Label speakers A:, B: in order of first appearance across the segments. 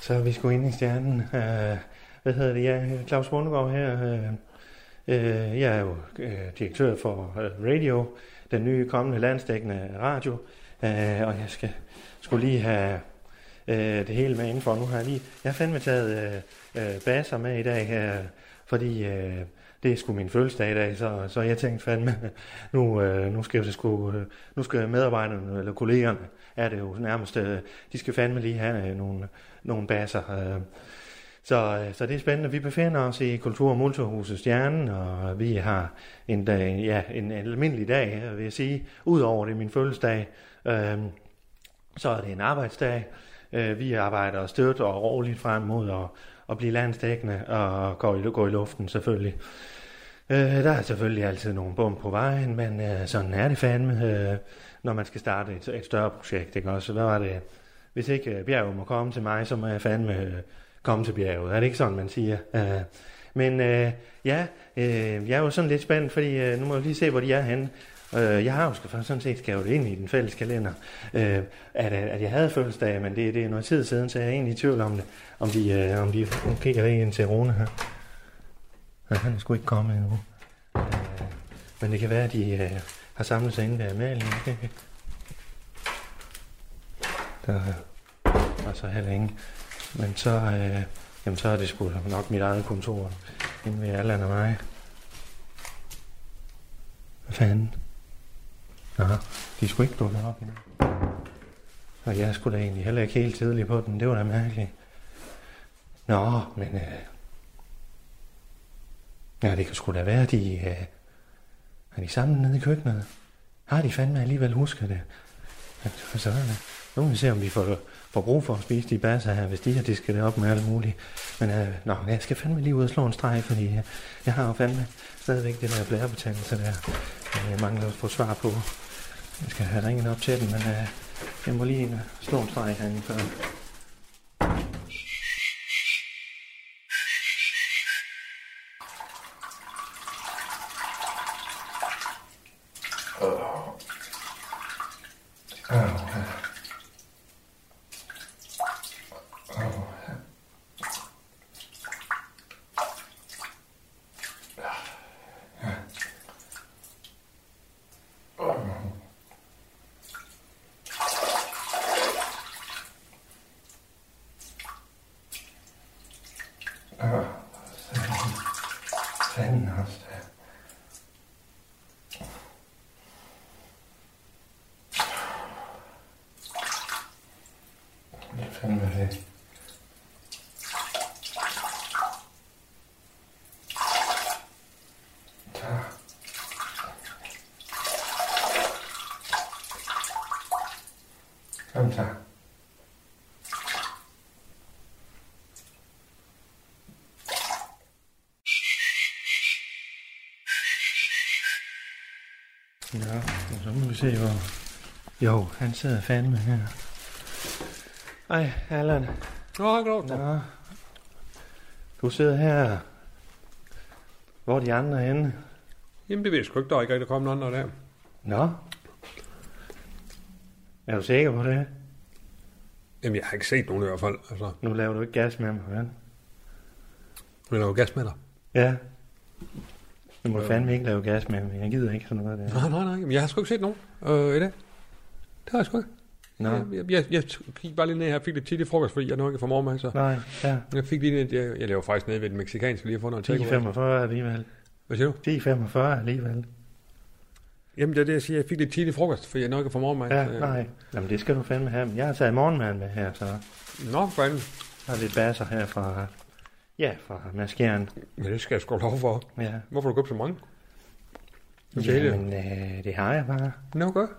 A: Så er vi sgu ind i stjernen. Øh, hvad hedder det? Jeg er Claus Bundgaard her. Øh, øh, jeg er jo øh, direktør for øh, Radio, den nye kommende landstækkende radio. Øh, og jeg skal skulle lige have øh, det hele med indenfor. Nu har jeg lige... Jeg har fandme taget øh, øh, basser med i dag, øh, fordi øh, det er sgu min fødselsdag i dag, så, så jeg tænkte fandme, nu, øh, nu, skal jeg sgu, øh, nu skal medarbejderne eller kollegerne, er det jo nærmest, øh, de skal fandme lige have øh, nogle, nogle baser. Øh. Så, øh, så det er spændende. Vi befinder os i Kultur- og Multihuset Stjernen, og vi har en, dag, ja, en almindelig dag, øh, vil jeg sige. Udover det er min fødselsdag, øh, så er det en arbejdsdag. Øh, vi arbejder stødt og roligt frem mod at, at blive landstækkende og gå i, gå i luften selvfølgelig. Øh, der er selvfølgelig altid nogle bum på vejen, men øh, sådan er det fandme, øh, når man skal starte et, et større projekt. Ikke? Også, hvad var det? Hvis ikke øh, bjerget må komme til mig, så må jeg fandme øh, komme til bjerget. Er det ikke sådan, man siger? Øh, men øh, ja, øh, jeg er jo sådan lidt spændt, fordi øh, nu må jeg lige se, hvor de er henne. Øh, jeg har jo skal- sådan set skrevet det ind i den fælles kalender, øh, at, øh, at jeg havde fødselsdag, men det, det er noget tid siden, så jeg er egentlig i tvivl om det. Om de, øh, om de nu kigger lige ind til Rune her. Ja, han er sgu ikke kommet endnu. Øh, men det kan være, at de øh, har samlet sig inde ved Amalie. ikke? Der øh, var så heller ingen. Men så, øh, jamen, så er det sgu nok mit eget kontor, inde ved Allan og mig. Hvad fanden? Nå, de skulle ikke dukke op endnu. Og jeg skulle da egentlig heller ikke helt tidlig på den. Det var da mærkeligt. Nå, men... Øh... Ja, det kan sgu da være, de... Øh... Er de sammen nede i køkkenet? Har de fandme alligevel husket det? Ja, så- Så er det. Nu må vi se, om vi får, får brug for at spise de basser her, hvis de har disket det op med alt muligt. Men øh, nå, jeg skal fandme lige ud og slå en streg, fordi øh, jeg har jo fandme stadigvæk det der blærebetændelse der. Øh, jeg mangler at få svar på. Jeg skal have ringet op til dem, men øh, jeg må lige ind og slå en streg herinde før. Fanden også. Hvad fanden er det? Kom så. Ja, og så må vi se, hvor... Jo, han sidder fandme her. Ej, Allan.
B: Nå, hej Claus.
A: Nå. Du sidder her. Hvor er de andre henne?
B: Jamen, det ved jeg sgu ikke. Der er ikke rigtig kommet nogen der.
A: Nå. Er du sikker på det?
B: Jamen, jeg har ikke set nogen i hvert fald. Altså,
A: Nu laver du ikke gas med mig, vel?
B: hun laver gas med dig.
A: Ja. Du må
B: Ja.
A: fandme ikke lave gas med mig. Jeg gider ikke sådan noget der.
B: Nej, nej, nej. Jamen, jeg har sgu ikke set nogen øh, i dag. Det har jeg sgu ikke.
A: Nå.
B: Jeg, jeg, jeg, jeg gik bare lige ned her og fik lidt tidlig frokost, fordi jeg nu ikke får morgenmad, så...
A: Nej, ja.
B: Jeg fik lige ned, jeg, jeg laver faktisk nede ved den meksikanske lige for noget
A: 10.45 alligevel.
B: Hvad siger du?
A: 10.45 alligevel.
B: Jamen, det er det, jeg siger. Jeg fik lidt tidlig frokost, fordi jeg nok ikke får morgenmad.
A: Ja,
B: så, øh,
A: nej. Jamen, det skal du fandme have. Men Jeg har taget morgenmad med her, så
B: Nå, for fanden.
A: der er lidt basser her fra... Ja, fra maskeren.
B: Men det skal jeg sgu have lov for.
A: Ja.
B: Hvorfor har du købt så mange? Det er
A: Jamen, øh, det har jeg bare.
B: Nå, godt.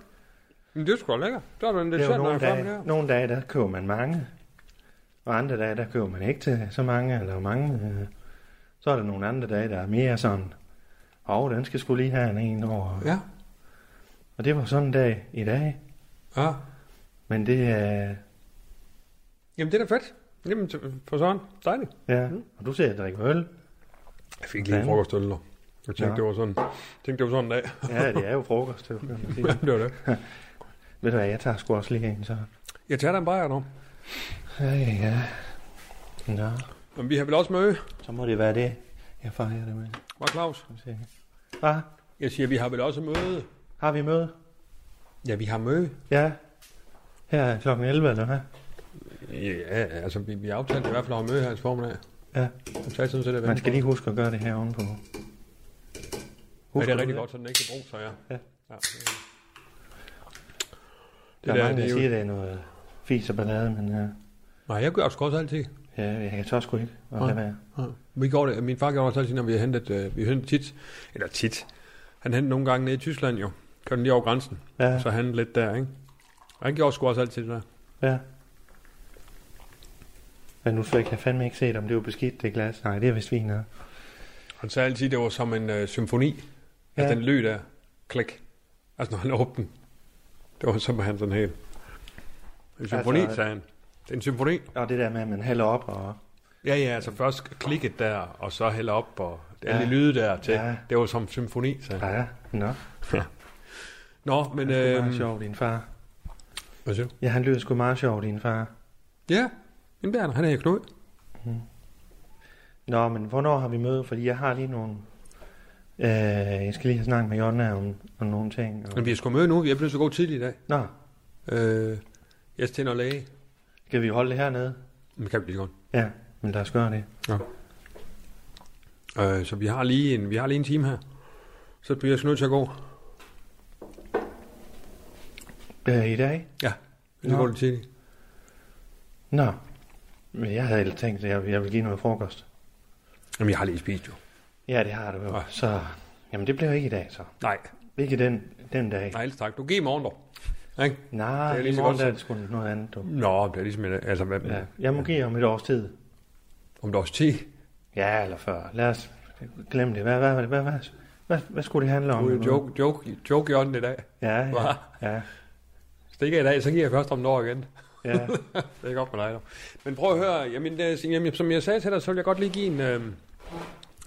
B: Men det er sgu da lækkert. Der er da en
A: Det
B: lidt
A: er jo
B: sjovt, når
A: nogle
B: jeg frem
A: dage,
B: der.
A: nogle dage, der køber man mange, og andre dage, der køber man ikke til så mange, eller mange. øh. Så er der nogle andre dage, der er mere sådan, og den skal skulle lige have en en over.
B: Ja,
A: Og det var sådan en dag i dag,
B: ja.
A: men det øh, er,
B: Jamen, det er da fedt. Jamen, t- for sådan. Dejligt.
A: ja,
B: Mm.
A: og du ser, at jeg drikker øl.
B: Jeg fik lige en
A: Dejligt.
B: frokostøl, dog. Jeg tænkte,
A: Ja.
B: det var sådan, tænkte, det var sådan en dag.
A: Ja, det er jo frokost, det kan man sige.
B: det var det.
A: Ved du hvad, jeg tager sgu også lige en, så.
B: Jeg tager da en bajer, dog.
A: Ej, ja. Nå,
B: Men vi har vel også møde.
A: så må det være det, jeg fejrer det med.
B: Var Claus?
A: Skal vi se. Hvad?
B: Jeg siger, vi har vel også møde.
A: Har vi møde?
B: Ja, vi har møde.
A: Ja. Her er klokken 11, eller hvad?
B: Ja, altså, vi, vi aftalte i hvert fald at have møde her i formiddag.
A: Ja.
B: Jeg sagde sådan set, at
A: Man skal lige huske at gøre det her ovenpå.
B: Ja, det
A: Husker
B: er
A: du
B: rigtig godt, så den ikke kan bruge sig, ja.
A: Ja.
B: ja.
A: Det der er mange, der siger, det er noget fis og ballade, men uh,
B: Nej, jeg gør også også altid.
A: ja, jeg kan så sgu ikke at
B: Nej.
A: lade være.
B: Vi går det. Min far gjorde også altid, når vi hentede, øh, vi hentede tit, eller tit. Han hentede nogle gange ned i Tyskland jo. Kørte den lige over grænsen,
A: Ja,
B: ja. så han lidt der, ikke? Og han gjorde sgu også altid det der.
A: ja. Men nu fik jeg fandme ikke set, om det var beskidt, det glas. Nej, det er vist vin her.
B: Han sagde altid, det var som en øh, symfoni. Ja.
A: Ja.
B: Altså den lød der, klik. Altså når han åbnede den. Det var som han sådan helt. En symfoni, altså,
A: Altså,
B: sagde han. Det er en symfoni.
A: Og det der med, at man hælder op og...
B: Ja, ja, altså først klikket der, og så hælder op, og alle
A: Ja.
B: ja. lyde der til. Ja.
A: Ja.
B: Det var som symfoni, sagde han.
A: Ja, nå.
B: Nå, men...
A: Men, øhm, det er
B: Øh,
A: meget sjov, din far.
B: hvad siger du?
A: Ja, han lyder sgu meget sjov, din far.
B: Ja, jamen, der er han. Han er i Knud.
A: Nå, men hvornår har vi møde? Fordi jeg har lige nogle... Øh, jeg skal lige have snakket med Jonna om, om nogle ting. Og...
B: Men vi er sgu møde nu. Vi er blevet så gode tidligt i dag.
A: Nå,
B: Øh, jeg er til noget læge.
A: skal vi holde det hernede?
B: Men kan vi lige så godt.
A: Ja, men lad os gøre det.
B: Øh, så vi har, lige en, vi har lige en time her. Så bliver jeg sgu nødt til at gå.
A: Øh, I dag?
B: Det
A: Nå.
B: går lidt tidligt.
A: Nå. Men jeg havde ellers tænkt, at jeg, jeg ville give noget frokost.
B: Jamen, jeg har lige spist jo.
A: Ja, det har du jo.
B: Nå.
A: Så, jamen det bliver ikke i dag så.
B: Nej,
A: Ikke den, den dag.
B: nej, ellers tak. Du giver i morgen dog. Ikke?
A: Nej,
B: Det er lige
A: i
B: så
A: morgen
B: godt
A: der
B: som-
A: er det sgu noget andet. Du.
B: Nå, det er ligesom... en- Altså, hvad,
A: Ja.
B: ja.
A: Jeg må give om et års tid.
B: om der er også tid.
A: Ja, eller før. Lad os glemme det. Hvad, hvad, hvad, hvad, hvad, hvad, hvad skulle det handle om?
B: Du er joke, joke, joke i ånden i dag.
A: Ja, ja,
B: Hva?
A: ja.
B: Stikker i dag, så giver jeg først om et år igen.
A: ja.
B: Det er godt med dig, dog. Men prøv at høre, jamen, det, jamen, som jeg sagde til dig, så vil jeg godt lige give en... Øh,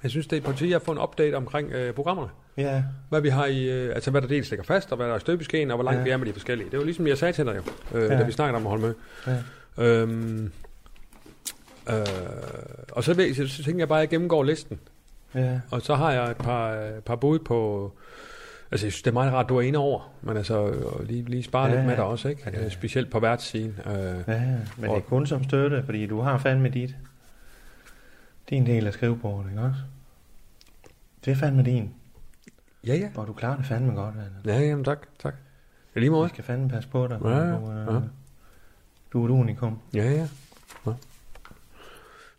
B: jeg synes, det er på tide at få en update omkring øh, programmerne.
A: ja.
B: Hvad vi har i, øh, altså hvad der dels ligger fast, og hvad der er i støbeskeen, og hvor langt
A: Ja.
B: ja. vi er med de forskellige. Det var ligesom jeg sagde til dig jo, øh, ja.
A: Ja.
B: da vi snakkede om at holde med.
A: Ja.
B: Øhm, øh, og så, ved, så, så tænker jeg bare, at jeg gennemgår listen,
A: Ja,
B: og så har jeg et par, øh, par bud på... Altså, jeg synes, det er meget rart, du er inde over, men altså, øh, lige, lige spare ja,
A: Ja,
B: lidt med
A: ja.
B: dig også, ikke?
A: Ja.
B: Ja. Specielt på værtssiden. Øh,
A: ja, ja. men det
B: Og-
A: er kun som støtte, fordi du har fandme dit. Din del af skrivebordet, ikke også? Det er fandme din,
B: ja, ja.
A: og du klarer det fandme godt, Allan.
B: Ja, jamen tak, tak. Ja, lige
A: Vi
B: måde.
A: skal fandme passe på dig.
B: Ja,
A: når du, øh,
B: ja.
A: du er et unikum.
B: Ja, ja. Nå.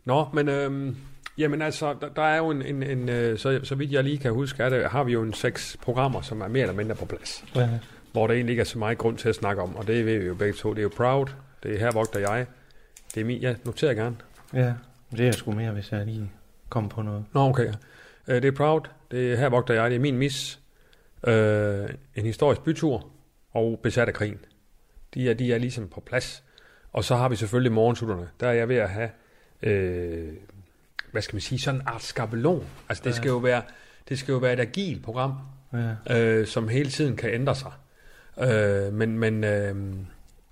B: Nå, men øhm, jamen altså, der, der er jo en, en, en øh, så, så vidt jeg lige kan huske, er det, har vi jo en seks programmer, som er mere eller mindre på plads,
A: Ja.
B: hvor der egentlig ikke er så meget grund til at snakke om, og det ved vi jo begge to. Det er jo Proud, det er her vogter jeg, det er min, ja, noterer jeg gerne.
A: ja. Det er jeg sgu mere, hvis jeg lige kom på noget.
B: Nå, okay. Øh, det er Proud, det er her vogter jeg, det er min mis, øh, en historisk bytur og besat af krigen. De er, de er ligesom på plads. Og så har vi selvfølgelig morgensutterne. Der er jeg ved at have, øh, hvad skal man sige, sådan en art skabelon. Altså det
A: Ja.
B: skal jo være, det skal jo være et agil program,
A: Ja.
B: øh, som hele tiden kan ændre sig. Øh, men men øh,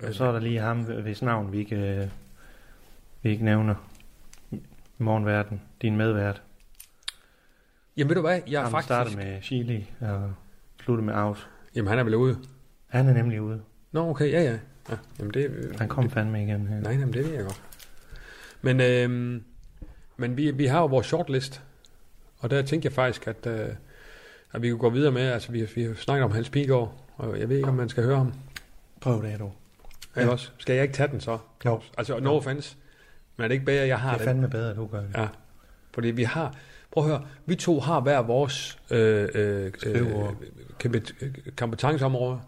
A: Og så er der lige ham, hvis navn vi ikke, øh, vi ikke nævner. I morgenverden. Din medvært.
B: jamen ved du hvad, jeg er
A: ham
B: faktisk...
A: starter med Chili og slutter med Aus.
B: Jamen han er vel ude.
A: Han er nemlig ude.
B: Nå, okay, ja, ja. ja jamen det, øh,
A: Han kom fandme igen her.
B: Nej, jamen, det ved jeg godt. Men, øh, men vi, vi har jo vores shortlist, og der tænkte jeg faktisk, at, øh, at vi kunne gå videre med, altså vi, vi har snakket om Hans Pigård, og jeg ved ikke, om man skal høre ham.
A: Prøv det, du.
B: Ja. Ikke også? Skal jeg ikke tage den så?
A: Jo,
B: Altså, no offense, men er det ikke bedre, at jeg har
A: det er
B: den?
A: fandme bedre, at du gør det.
B: Ja, fordi vi har, prøv at høre, vi to har hver vores øh, øh, øh,
A: Skriveord.
B: kompet- kompetenceområder,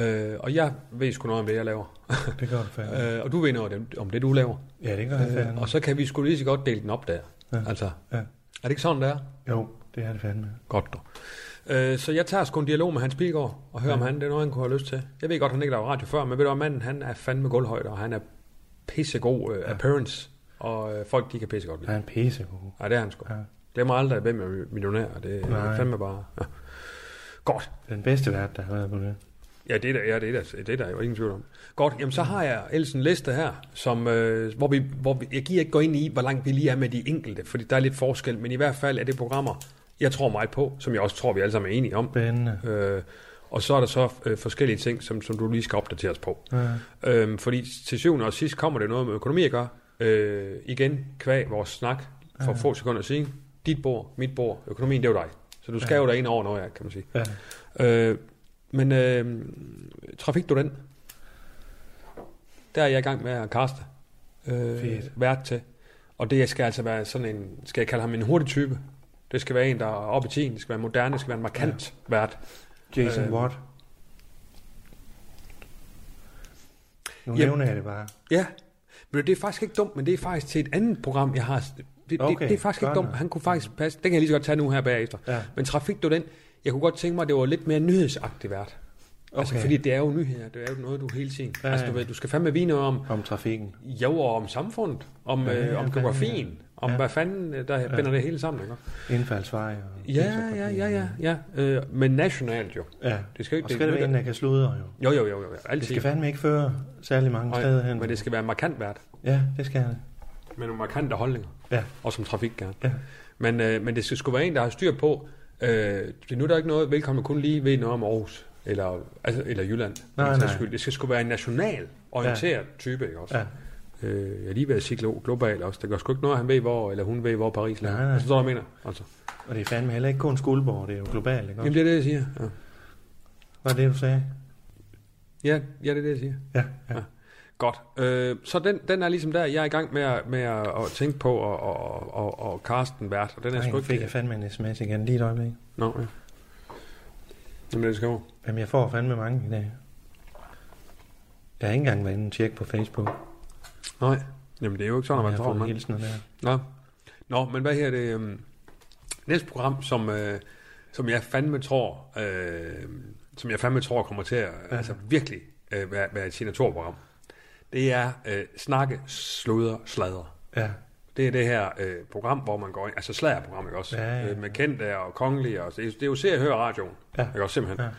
B: Øh, og jeg ved sgu noget om det, jeg laver.
A: Det gør du fandme.
B: Øh, og du ved noget om det, om det du laver.
A: Ja, det gør jeg
B: Øh,
A: fandme.
B: og så kan vi sgu lige så godt dele den op der.
A: Ja.
B: Altså,
A: Ja.
B: er det ikke sådan, det er?
A: Jo, det er det fandme.
B: Godt dog. Øh, så jeg tager sgu en dialog med Hans Pilgaard og hører, ja. om han, det er noget, han kunne have lyst til. Jeg ved godt, han ikke laver radio før, men ved du hvad, manden, han er fandme gulvhøjde, og han er pissegod øh,
A: Ja.
B: appearance, og øh, folk, de kan pissegodt lide.
A: Han er en pissegod.
B: Ja, det er han sgu.
A: Ja.
B: Ja. Glemmer aldrig, hvem er millionær, og det
A: Nej.
B: er fandme bare... Ja. Godt.
A: Den bedste vært, der har været på det.
B: Ja, det er der, ja, det er der, det er der jo ingen tvivl om. Godt, jamen så har jeg ellers en liste her, som, øh, hvor, vi, hvor vi, jeg giver ikke gå ind i, hvor langt vi lige er med de enkelte, fordi der er lidt forskel, men i hvert fald er det programmer, jeg tror meget på, som jeg også tror, vi alle sammen er enige om.
A: Spændende.
B: Øh, og så er der så øh, forskellige ting, som, som du lige skal opdateres på.
A: Ja.
B: Øh, fordi til syvende og sidst kommer det noget med økonomi at gøre. Øh, igen, kvæg vores snak for
A: Ja.
B: få sekunder siden. Dit bord, mit bord, økonomien, det er jo dig. Så du skal
A: Ja.
B: jo derind over noget, af, kan man sige.
A: ja.
B: Øh, men øh, trafik du den? Der er jeg i gang med at kaste øh,
A: Fedt.
B: vært til. Og det skal altså være sådan en, skal jeg kalde ham en hurtig type? Det skal være en, der er oppe i tiden, det skal være moderne, det skal være en markant ja. vært.
A: Jason
B: Øh,
A: Watt. Nu
B: Jamen-
A: nævner jeg det bare.
B: Ja, men det er faktisk ikke dumt, men det er faktisk til et andet program, jeg har. Det, okay,
A: Okay,
B: det, det er faktisk ikke
A: godt
B: dumt.
A: nok.
B: Han kunne faktisk passe. Den kan jeg lige så godt tage nu her bagefter.
A: Ja.
B: Men trafik, du den. Jeg kunne godt tænke mig, at det var lidt mere nyhedsagtigt vært. Okay. Altså,
A: Okay.
B: fordi det er jo nyheder. Det er jo noget, du hele tiden...
A: Ja,
B: Ja, altså, du,
A: ja.
B: ved, du skal fandme vide noget om
A: Om trafikken.
B: Jo, og om samfundet, om,
A: Ja,
B: ja, øh,
A: ja,
B: om
A: ja,
B: geografien, om
A: Ja.
B: hvad fanden, øh, der ja. binder det hele sammen, ikke?
A: Indfaldsvej. Og
B: Ja, ja, ja, ja, ja. Øh, men nationalt jo.
A: ja.
B: Det skal jo ikke
A: Og skal det være en, der kan sludre jo.
B: Jo, jo, jo, jo.
A: Det
B: Altid.
A: skal fandme ikke føre særlig mange
B: Nej,
A: steder hen.
B: men det skal være markant værd,
A: Ja, det skal det.
B: med nogle markante holdninger,
A: Ja.
B: og som trafik gerne.
A: Ja.
B: Men, øh, men det skal sgu være en, der har styr på, øh, det, nu er der ikke noget, velkommen kun lige ved noget om Aarhus, eller, altså, eller Jylland. for
A: Nej,
B: den sags
A: nej.
B: skyld. Det skal sgu være en national orienteret ja. type, ikke også?
A: Ja.
B: Øh, jeg er lige ved at sige glo- global også. Det gør sgu ikke noget, han ved hvor, eller hun ved hvor Paris ligger.
A: Nej, nej.
B: Altså, så der mener. Altså.
A: Og det er fandme heller ikke kun Skuldborg, det er jo globalt, ikke?
B: Jamen,
A: Jamen,
B: det er det, jeg siger. Ja,
A: Var det, du sagde?
B: ja, ja det er det, jeg siger.
A: Ja, ja.
B: Ja. Godt. Øh, så den, den er ligesom der, jeg er i gang med at, med at, at tænke på, og, og, og, og Karsten vært, og den er
A: Nej,
B: sgu
A: nu
B: ikke...
A: fik jeg fandme en sms igen lige et øjeblik.
B: Nå, ja. Jamen, det skal jo.
A: Jamen, jeg får fandme mange i dag. Jeg har ikke engang været inde og tjekke på Facebook.
B: Nej. Jamen, det er jo ikke sådan,
A: jeg
B: at man
A: har
B: tror,
A: fået
B: man.
A: hilsener der.
B: Nå. Nå, men hvad her det? øhm, Næste program, som, øh, som jeg fandme tror, øh, som jeg fandme tror kommer til at
A: Ja.
B: ja. altså, virkelig øh, være, være et signaturprogram, det er øh, snakke, sludre, sladre.
A: Ja,
B: Det er det her øh, program, hvor man går ind, altså slagerprogram, ikke også?
A: Ja, ja.
B: Øh, med kendte og kongelige, og, det, er- det er jo se og høre radioen,
A: Ja.
B: ikke også simpelthen? Ja.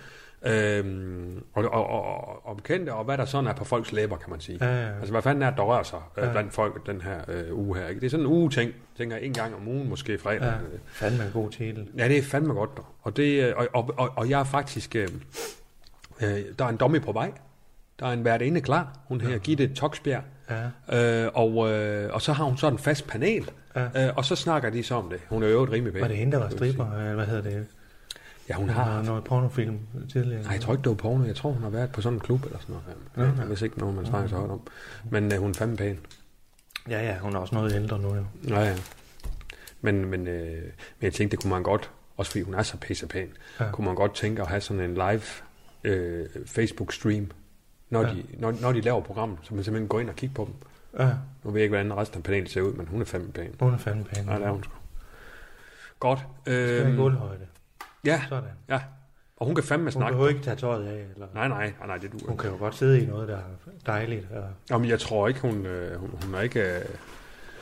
B: Øhm, og, og, og, og, og kendte, og hvad der sådan er på folks læber, kan man sige.
A: ja, ja.
B: Altså, hvad fanden er det, der rører sig øh,
A: Ja.
B: blandt folk den her øh, uge her? Ikke? Det er sådan en uge-ting, tænker jeg, en gang om ugen, måske fredag.
A: ja.
B: Ja. Øh,
A: Fandme en god titel.
B: Ja, det er fandme godt, dog. Og, det, øh, og, og, og, og jeg er faktisk... Øh, øh, der er en dummy på vej. Der er en værtinde klar. Hun hedder Gitte Toksbjerg.
A: Ja.
B: Øh, og, øh, og så har hun sådan en fast panel.
A: Ja.
B: Ja. Øh, og så snakker de så om det. Hun er jo øvrigt rimelig pæn.
A: Var det hende, der var stripper? Eller hvad hedder det?
B: Ja, hun
A: Hun
B: har...
A: har noget pornofilm tidligere.
B: Nej, jeg tror ikke, det var porno. Jeg tror, hun har været på sådan en klub eller sådan noget. Ja, hvis ikke nogen, man snakker så højt om. Men øh, hun er fandme pæn.
A: Ja, ja, hun er også noget ældre nu, jo.
B: Ja, ja. Men, men, øh, men jeg tænkte, det kunne man godt, også fordi hun er så pisse pæn,
A: Ja.
B: ja. kunne man godt tænke at have sådan en live øh, Facebook-stream, når,
A: Ja.
B: ja. de, når, når de laver programmet, så man simpelthen går ind og kigger på dem.
A: Ja,
B: Nu ved jeg ikke, hvordan resten af panelet ser ud, men hun er fandme pæn.
A: hun er fandme pæn.
B: Ja, det er hun sgu. Godt.
A: Skal i
B: Øh,
A: gulvhøjde.
B: ja,
A: Sådan.
B: ja. Og hun kan fandme
A: Hun
B: snakke.
A: behøver ikke tage tøjet af, eller...
B: Nej, nej, Ah, nej, nej det du.
A: Hun kan jo godt sidde i noget, der er dejligt. Og...
B: Jamen, jeg tror ikke, hun, øh, hun, hun er ikke... Øh,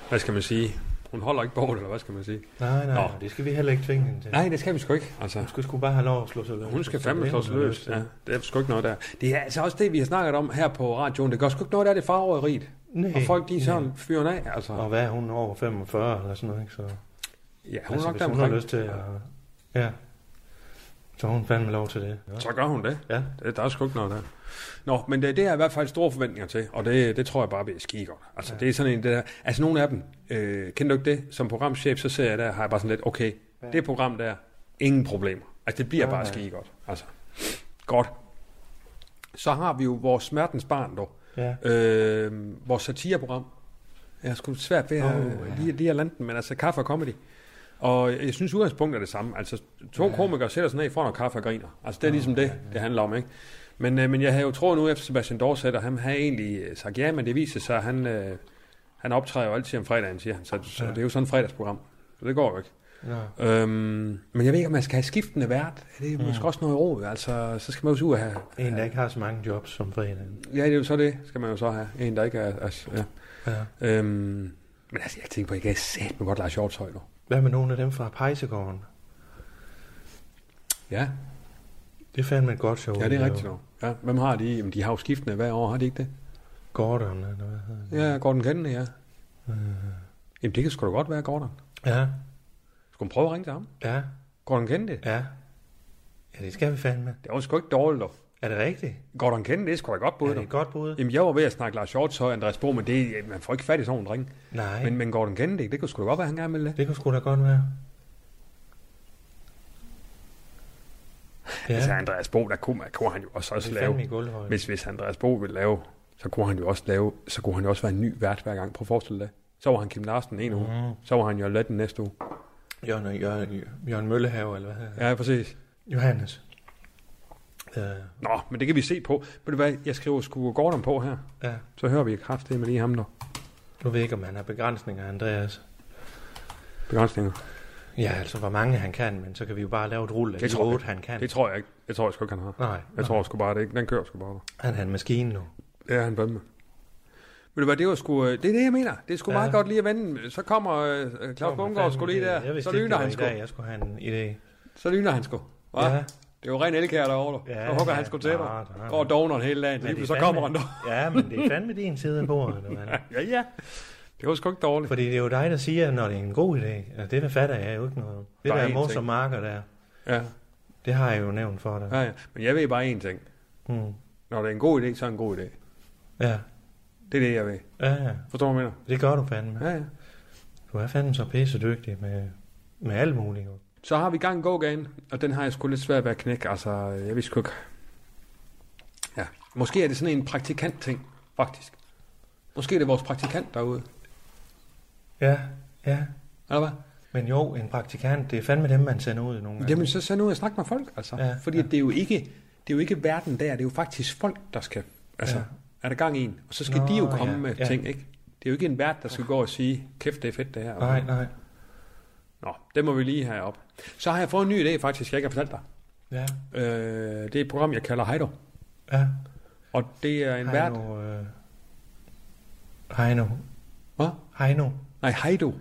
B: hvad skal man sige? Hun holder ikke bordet, eller hvad skal man sige?
A: Nej, nej,
B: Nå.
A: nej, det skal vi heller ikke tvinge hende til.
B: Nej, det skal vi sgu ikke. Altså,
A: Hun skal sgu bare have lov at slå sig løs.
B: Hun skal
A: Hvis
B: fandme
A: det er
B: slå
A: det,
B: sig
A: hun har
B: løs.
A: lyst til.
B: Ja, det er sgu ikke noget der. Det er altså også det, vi har snakket om her på radioen. Det gør sgu ikke noget, der er det farverigt.
A: Nej,
B: Og folk, de er
A: nej.
B: sådan fyren af, altså.
A: Og hvad er hun over 45 eller sådan noget, ikke? Så, ja, hun
B: Ja, hun
A: altså,
B: er nok
A: hvis hun har
B: der
A: lyst til at... Ja. Så har hun fandme lov til det. Ja.
B: Så gør hun det.
A: Ja.
B: Det- Der er sgu ikke noget der. Nå, men det, det er i hvert fald store forventninger til, og det, det tror jeg bare bliver skide godt. Altså,
A: Ja.
B: ja. det er sådan en, det der, altså nogle af dem, øh, kender du ikke det? Som programchef, så ser jeg der, har jeg bare sådan lidt, okay,
A: Ja.
B: ja. det program der, ingen problemer. Altså, det bliver
A: Nej,
B: ja, bare
A: nej.
B: skide godt. Altså, godt. Så har vi jo vores smertens barn, dog.
A: ja.
B: Øh, vores satireprogram. Jeg har sgu svært ved at,
A: Åh,
B: oh,
A: ja.
B: ja. lige, lige at lande den, men altså kaffe og comedy. Og jeg synes udgangspunktet er det samme. Altså to
A: Ja.
B: ja. komikere sætter sig ned foran noget kaffe og griner. Altså det er
A: Åh,
B: ligesom
A: ja,
B: det,
A: ja.
B: det handler om, ikke? Men, øh, men jeg havde jo troet nu efter Sebastian Dorset, og han havde egentlig øh, sagt ja, men det viser sig, at han, øh, han optræder jo altid om fredagen, siger han. Så, så
A: Ja.
B: det er jo sådan et fredagsprogram. Så det går jo ikke.
A: Nå.
B: Øhm, men jeg ved ikke, om man skal have skiftende vært. Det er måske
A: Mm.
B: også noget råd. Altså, så skal man jo så ud og have...
A: En, der ikke har så mange jobs som fredagen.
B: Ja, det er jo så det, skal man jo så have. En, der ikke er... Altså, ja.
A: Ja.
B: øhm, men altså, jeg tænker på, at jeg kan sætte mig godt lege shorts højt nu.
A: Hvad med nogle af dem fra Pejsegården?
B: Ja,
A: Det er fandme et godt show.
B: ja, det er
A: jo.
B: rigtigt nok. Ja, hvem har de? Jamen, de har jo skiftende hver år, har de ikke det?
A: Gordon, eller hvad hedder det?
B: Ja, Gordon Kennedy, ja.
A: Øh.
B: Jamen, det kan sgu da godt være, Gordon.
A: Ja,
B: Skulle man prøve at ringe til ham?
A: ja,
B: Gordon Kennedy?
A: ja. Ja, det skal vi fandme.
B: Det var sgu ikke dårligt, dog.
A: Er det rigtigt?
B: Gordon Kennedy, det er sgu da godt
A: Er
B: bud,
A: det
B: dog.
A: et godt bud?
B: Jamen, jeg var ved at snakke Lars Shorts og Andreas Bo, men det, man får ikke fat i sådan en dreng.
A: Nej,
B: Men,
A: Men...
B: men Gordon Kennedy, det kunne sgu da godt være, han gerne ville det.
A: det kunne sgu da godt være.
B: Ja. Altså
A: Ja,
B: Andreas Bo, der kunne, man, kunne han jo også, også
A: det er fandme i
B: lave,
A: gulvhøjde.
B: hvis, hvis Andreas Bo ville lave, så kunne han jo også lave, så kunne han jo også være en ny vært hver gang. Prøv at forestille dig. Så var han Kim Larsen en uge,
A: Mm.
B: så var han jo Latten næste uge.
A: Jørgen, Jørgen, Jørgen Møllehave, eller hvad hedder han?
B: Ja, præcis.
A: Johannes. Øh,
B: Nå, men det kan vi se på. Ved du hvad, jeg skriver sgu Gordon på her,
A: ja,
B: så hører vi kraftigt med lige ham der.
A: nu ved jeg ikke, om han har begrænsninger, Andreas.
B: Begrænsninger.
A: Ja, altså, hvor mange han kan, men så kan vi jo bare lave et rulle af
B: Det
A: de
B: tror jeg.
A: otte, han kan.
B: Det tror jeg ikke. Det tror jeg sgu ikke, han har.
A: Nej,
B: Jeg tror sgu bare, det ikke. Den kører sgu bare.
A: han har en maskine nu.
B: Det er han fandme. Ved du hvad, det var sgu, øh, det er det, jeg mener. Det er sgu ja.
A: Ja.
B: meget godt lige at vende. Så kommer øh, Claus
A: Nå, men
B: Bungård
A: fandme,
B: sgu lige
A: det- Jeg
B: der.
A: vidste
B: Så
A: ikke, det
B: lyner
A: var
B: han
A: i
B: sgu.
A: dag, jeg skulle have en idé.
B: Så lyner han sgu. Hva?
A: Ja,
B: Det er jo ren elkær derovre. du.
A: Ja,
B: så hugger
A: ja. Ah,
B: han sgu til dig.
A: Nå, nå, nå.
B: Går og dogner hele dagen.
A: Men
B: Lige
A: det er
B: pludselig så
A: fandme-
B: kommer han der.
A: ja, men det er fandme din side af bordet. eller hvad?
B: Ja, ja. Det var sgu ikke dårligt.
A: Fordi det er jo dig, der siger, når det er en god idé. Og det fatter jeg jo ikke noget om. Det
B: Der er
A: der,
B: én
A: der mos
B: ting.
A: og marker der,
B: Ja,
A: det har jeg jo nævnt for dig.
B: ja, ja. Men jeg ved bare én ting.
A: Mm.
B: Når det er en god idé, så er det en god idé.
A: Ja.
B: Det er det, jeg ved.
A: ja, ja.
B: Forstår du, hvad jeg mener?
A: Det gør du fandme.
B: Ja, ja.
A: Du er fandme så pisse dygtig med, med alt muligt. jo.
B: Så har vi gang go gågagen, og den har jeg sgu lidt svært ved at knække. Altså, jeg ved sgu ikke. Ja. Måske er det sådan en praktikant-ting, faktisk. Måske er det vores praktikant derude.
A: Ja, ja.
B: Eller hvad?
A: Men jo, en praktikant, det er fandme dem, man sender ud nogle gange.
B: Jamen, så send ud og snak med folk, altså. Ja,
A: Ja,
B: Fordi
A: ja.
B: ja. det er jo ikke det er jo ikke verden der, det er jo faktisk folk, der skal... Altså, ja.
A: Ja.
B: er der gang i en? Og så skal Nå,
A: Nå,
B: de jo komme ja,
A: ja,
B: med ja.
A: ja.
B: ting, ikke? Det er jo ikke en vært, der skal gå og sige, kæft, det er fedt, det her.
A: Nej, nej.
B: Nå, det må vi lige have op. Så har jeg fået en ny idé, faktisk, jeg ikke har fortalt dig.
A: Ja,
B: Øh, det er et program, jeg kalder Heido.
A: ja.
B: Og det er en vært...
A: Heino, øh... Heino.
B: Hvad?
A: Heino.
B: Nej, Heido.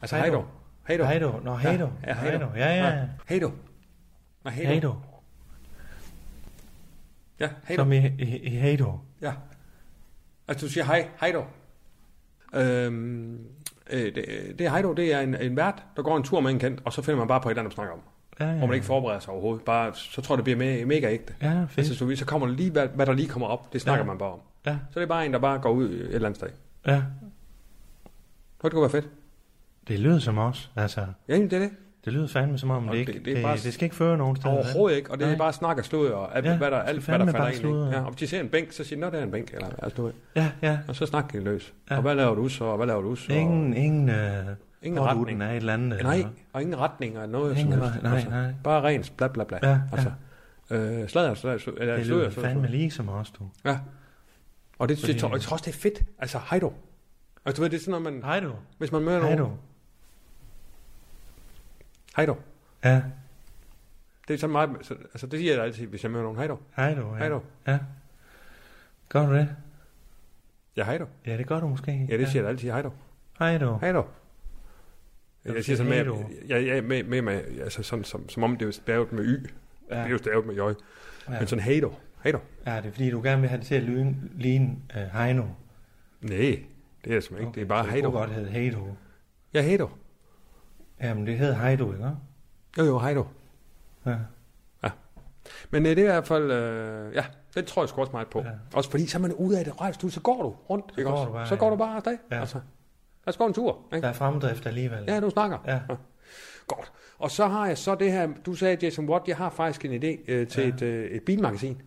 B: Altså Heido.
A: Heido.
B: Heido.
A: Heino. Nå, Heino.
B: Ja, ja, Heido.
A: Heino. Ja, ja.
B: Nej, Heido. Nej, Heido.
A: Heino.
B: Ja, Heido.
A: Som i, i, i Heino.
B: Ja. Altså, du siger hej, hej dog. Øhm, øh, det, det er hej dog, det er en, en vært, der går en tur med en kendt, og så finder man bare på et eller andet, man snakker om.
A: Ja, ja.
B: Hvor man ikke forbereder sig overhovedet. Bare, så tror jeg, det bliver me- mega ægte.
A: Ja, fedt.
B: Altså, så, så kommer der lige, hvad, hvad der lige kommer op. Det snakker ja.
A: Ja.
B: man bare om.
A: Ja,
B: Så det er bare en, der bare går ud et eller andet sted.
A: ja.
B: Kunne det kunne være fedt?
A: Det lyder som os. Altså,
B: Ja, det er det.
A: det lyder fandme som om,
B: Og
A: det, ikke, det, det, bare... det, skal ikke føre nogen steder. vel?
B: Overhovedet ikke. Og det er
A: Nej.
B: bare snak og slud og alt, ja,
A: Ja,
B: hvad der,
A: så
B: alt, hvad der
A: fandme
B: falder
A: bare
B: ind. ikke?
A: sludder.
B: Ja, om de ser en bænk, så siger de, nå, det er en bænk. Eller, altså, du, ved.
A: Ja, ja.
B: og så snakker de løs. Ja.
A: Ja.
B: Og hvad laver du så? Og hvad laver du så?
A: Ingen, ingen, øh,
B: Ingen
A: pådutten
B: retning.
A: af et eller andet.
B: Nej,
A: eller-
B: og ingen retninger eller noget
A: Ingen
B: som helst. Altså,
A: ret- nej, nej.
B: Bare rent bla bla bla.
A: Ja, ja.
B: altså, Øh, sladder, sladder, sladder, eller
A: Det
B: sludder,
A: lyder
B: sludder,
A: fandme
B: sludder.
A: lige som os, du.
B: Ja. Og det, det,
A: Fordi-
B: tror- jeg tror også, det er fedt. Altså, hej du. Og du ved, det er sådan, når man,
A: Hej du.
B: hvis man møder
A: Hej
B: nogen.
A: du.
B: Hej du.
A: Ja,
B: Det er sådan meget, så- altså det siger jeg da altid, hvis jeg møder nogen. Hej du.
A: hej du. Ja.
B: Hej du.
A: Ja. Gør du det?
B: Ja, hej du.
A: Ja, det gør du måske.
B: Ja, det siger jeg da altid. Hej du.
A: Hej du.
B: Hej du.
A: Ja,
B: Jeg
A: du
B: siger
A: siger
B: sådan med,
A: hey
B: jeg, jeg, med, med, med altså sådan, som, som om det er stavet med y. Ja. Det er jo stavet med jøj.
A: Ja.
B: Men sådan, hej du. Hej du.
A: ja, det er fordi, du gerne vil have det til at lyne, ligne uh, hej nu.
B: Nej, det er det simpelthen ikke. Det er bare
A: så
B: hej
A: Det kunne
B: du.
A: godt hedde hej du.
B: Ja, hej du.
A: Jamen, det hedder hej du, ikke?
B: Jo, jo, hej du.
A: Ja.
B: Men øh, det er i hvert fald, øh, ja, det tror jeg sgu også meget på. Ja.
A: Ja.
B: Også fordi, så er man ude af det rejse, så går du rundt, så ikke
A: går
B: også?
A: du bare,
B: så går
A: ja.
B: du bare afsted, ja.
A: Ja.
B: altså. Lad os gå en tur, ikke?
A: Der er fremdrift alligevel.
B: Ja, du snakker.
A: Ja.
B: Godt. Og så har jeg så det her, du sagde, Jason Watt, jeg har faktisk en idé øh, til ja.
A: Ja.
B: et, øh, et bilmagasin,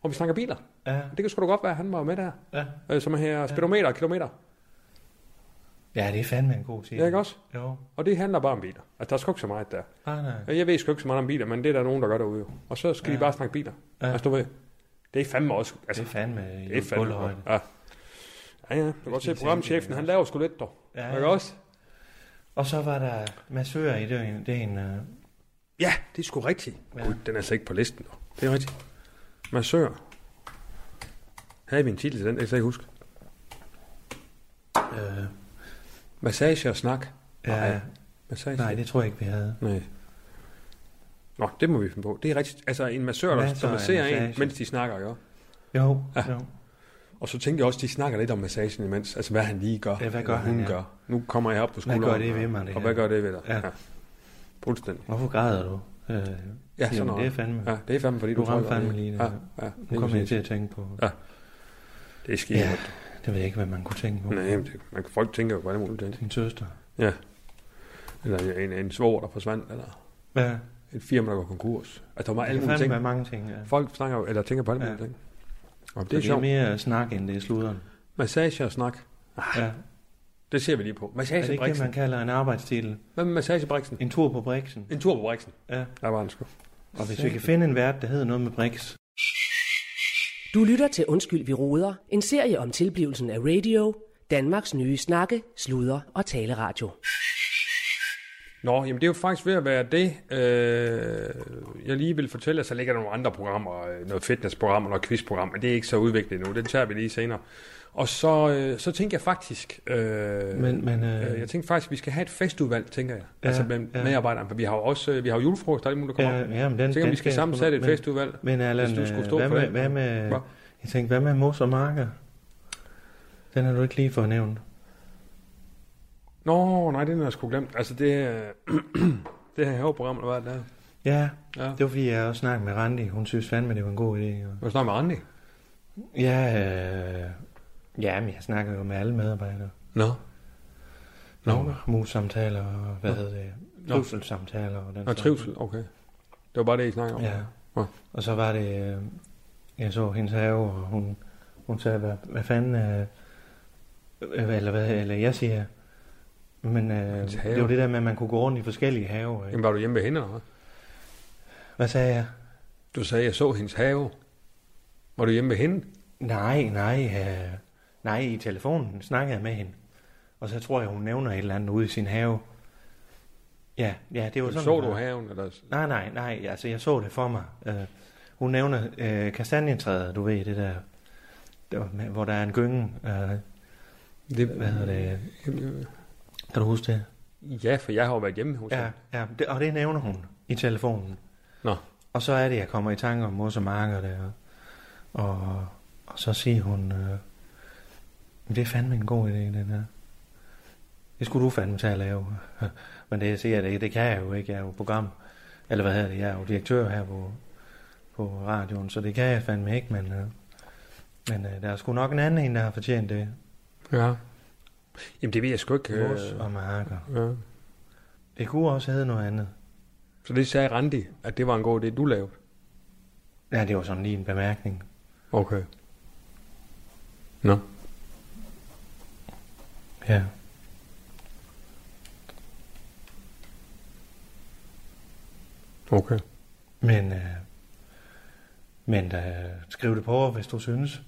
B: hvor vi snakker biler.
A: Ja.
B: Det kan sgu da godt være, han var med der,
A: Ja.
B: øh, som er her speedometer og kilometer,
A: ja, det er fandme en god tid.
B: ja. ikke også?
A: Jo.
B: Og det handler bare om biler. Altså, der er sgu ikke så meget der.
A: Nej, nej.
B: Jeg ved sgu ikke så meget om biler, men det er der nogen, der gør derude jo. Og så skal ja. de
A: Ja.
B: bare snakke biler. Ja.
A: Ja.
B: Altså, du ved. Det er fandme også...
A: Det
B: Altså,
A: er fandme
B: det er fandme godt.
A: bullhøjde.
B: Ja. Ja, ja. Jeg kan godt se, at programchefen, han laver sgu lidt, dog.
A: Ja,
B: altså. Ja, Ikke også?
A: Og så var der massører i døgn. Det er en... Øh,
B: Ja, det er sgu rigtigt.
A: Ja.
B: Ja. Gud, den er slet ikke på listen. dog. Det er rigtigt. Massør. Havde vi en titel til den? Det kan jeg slet ikke huske.
A: øh,
B: Massage og snak.
A: ja,
B: Nej. Massage.
A: nej, det tror jeg ikke, vi havde.
B: Nej. Nå, det må vi finde på. Det er rigtigt. Altså en massør, der,
A: Masser
B: som
A: af
B: masserer en,
A: massage.
B: mens de snakker, jo.
A: Jo,
B: Ja.
A: jo.
B: Og så tænker jeg også, de snakker lidt om massagen imens. Altså, hvad han lige gør.
A: Ja, hvad gør
B: eller hun
A: han, ja.
B: gør. Nu kommer jeg op på skulderen.
A: gør det ved mig, det
B: Og
A: her?
B: hvad gør det ved dig?
A: Ja.
B: Fuldstændig.
A: Hvorfor græder du? Øh,
B: Ja, sådan
A: jamen,
B: noget.
A: det er fandme.
B: Ja, det er fandme, fordi
A: Du
B: du,
A: ramte
B: trykker
A: fandme
B: det.
A: lige det.
B: Ja, ja.
A: nu kommer jeg
B: præcis.
A: til at tænke på.
B: Ja. Det er skidt.
A: Ja,
B: Ja.
A: det ved jeg ikke, hvad man kunne tænke på.
B: Nej, men det, man kan folk tænker jo på alle mulige ting.
A: Din søster.
B: Ja. Eller en, en svoger, der forsvandt, eller
A: Ja,
B: et firma, der går konkurs. Altså, der var
A: det
B: alle
A: kan
B: mulige
A: fandme
B: ting.
A: være mange ting. Ja.
B: Folk snakker jo, eller tænker på alle
A: Ja.
B: mulige ting. Og
A: Så
B: det er sjovt.
A: mere snak, end det er sluderen.
B: Massage og snak.
A: Ja.
B: Ah, Det ser vi lige på.
A: Er det
B: Massage
A: ikke det,
B: Brixen.
A: man kalder en arbejdstil?
B: Hvad med massage Brixen?
A: En tur på Brixen.
B: En tur på Brixen.
A: Ja.
B: Der var han sgu.
A: Og hvis vi kan finde en vært, der hedder noget med Brix.
B: Øh,
C: Du lytter til Undskyld, vi roder, en serie om tilblivelsen af radio, Danmarks nye snakke, sludre og taleradio.
B: Nå, jamen det er jo faktisk ved at være det, øh, jeg lige vil fortælle, jer. så ligger der nogle andre programmer, øh, noget fitnessprogram og noget quizprogram, men det er ikke så udviklet endnu, det tager vi lige senere. Og så, øh, så tænker jeg faktisk, øh,
A: Men, men
B: øh,
A: øh,
B: jeg tænker faktisk, vi skal have et festudvalg, tænker jeg,
A: Ja,
B: ja, altså med
A: ja.
B: ja. medarbejderne, for vi har jo også, øh, vi har jo julefrokost, der er lige muligt, der kommer. Ja,
A: ja, ja, men den,
B: tænker,
A: den
B: vi skal
A: jeg
B: sammensætte et
A: sgu nok-
B: festudvalg.
A: Men, men Allan,
B: hvis du skulle
A: øh,
B: stå
A: hvad,
B: for
A: med,
B: den.
A: hvad med,
B: Hva?
A: jeg tænkte, hvad med mos og marker? Den har du ikke lige fået nævnt.
B: Nå, nej, den har jeg sgu glemt. Altså det, øh, det her program, eller hvad det er.
A: Ja,
B: Ja.
A: det var fordi, jeg også snakkede med Randi. Hun synes fandme, det var en god idé. Og...
B: Hvad snakker med Randi?
A: Ja, øh... ja, men jeg snakker jo med alle medarbejdere.
B: Nå. Nå,
A: Mus-samtaler og hvad
B: Nå.
A: hedder det?
B: Nå.
A: Trivselssamtaler og den
B: Nå,
A: slags.
B: trivsel, okay. Det var bare det, I snakkede om.
A: Altså, Ja.
B: Nå.
A: Og så var det, øh, jeg så hendes have, og hun, hun sagde, hvad, hvad fanden, øh, øh, eller hvad, eller jeg siger, men øh,
B: Hendes have.
A: det var det der med, at man kunne gå rundt i forskellige haver. Ikke?
B: Jamen, var du hjemme ved hende, eller hvad?
A: Hvad sagde jeg?
B: Du sagde, jeg så hendes have. Var du hjemme ved hende?
A: Nej, nej, øh, nej, i telefonen snakkede jeg med hende. Og så tror jeg, hun nævner et eller andet ude i sin have. Ja, ja, det var sådan.
B: Så
A: det
B: du
A: var.
B: haven? Eller...
A: Nej, nej, nej, altså jeg så det for mig. Øh, hun nævner øh, kastanjetræet, du ved, det der, der med- hvor der er en gynge. Øh,
B: Det,
A: hvad hedder det? Kan du huske det?
B: Ja, for jeg har jo været hjemme hos
A: Ja,
B: hende.
A: ja det, og det nævner hun i telefonen.
B: Nå.
A: Og så er det, jeg kommer i tanke om mos og marker der. Og, og så siger hun, øh, "Men det er fandme en god idé, den her. Det skulle du fandme tage at lave. Men det jeg siger, det, det kan jeg jo ikke. Jeg er jo program, eller hvad hedder det, jeg er jo direktør her på, på radioen, så det kan jeg fandme ikke, men... Øh, men øh, der er sgu nok en anden en, der har fortjent det.
B: ja. Jamen, det ved jeg sgu ikke. øh,
A: Mos og marker.
B: Ja.
A: Det kunne også hedde noget andet.
B: Så det sagde Randi, at det var en god idé, du lavede.
A: Ja, det var sådan lige en bemærkning.
B: Okay. Nå.
A: Ja.
B: Okay.
A: Men, øh, men øh, skriv det på, hvis du synes.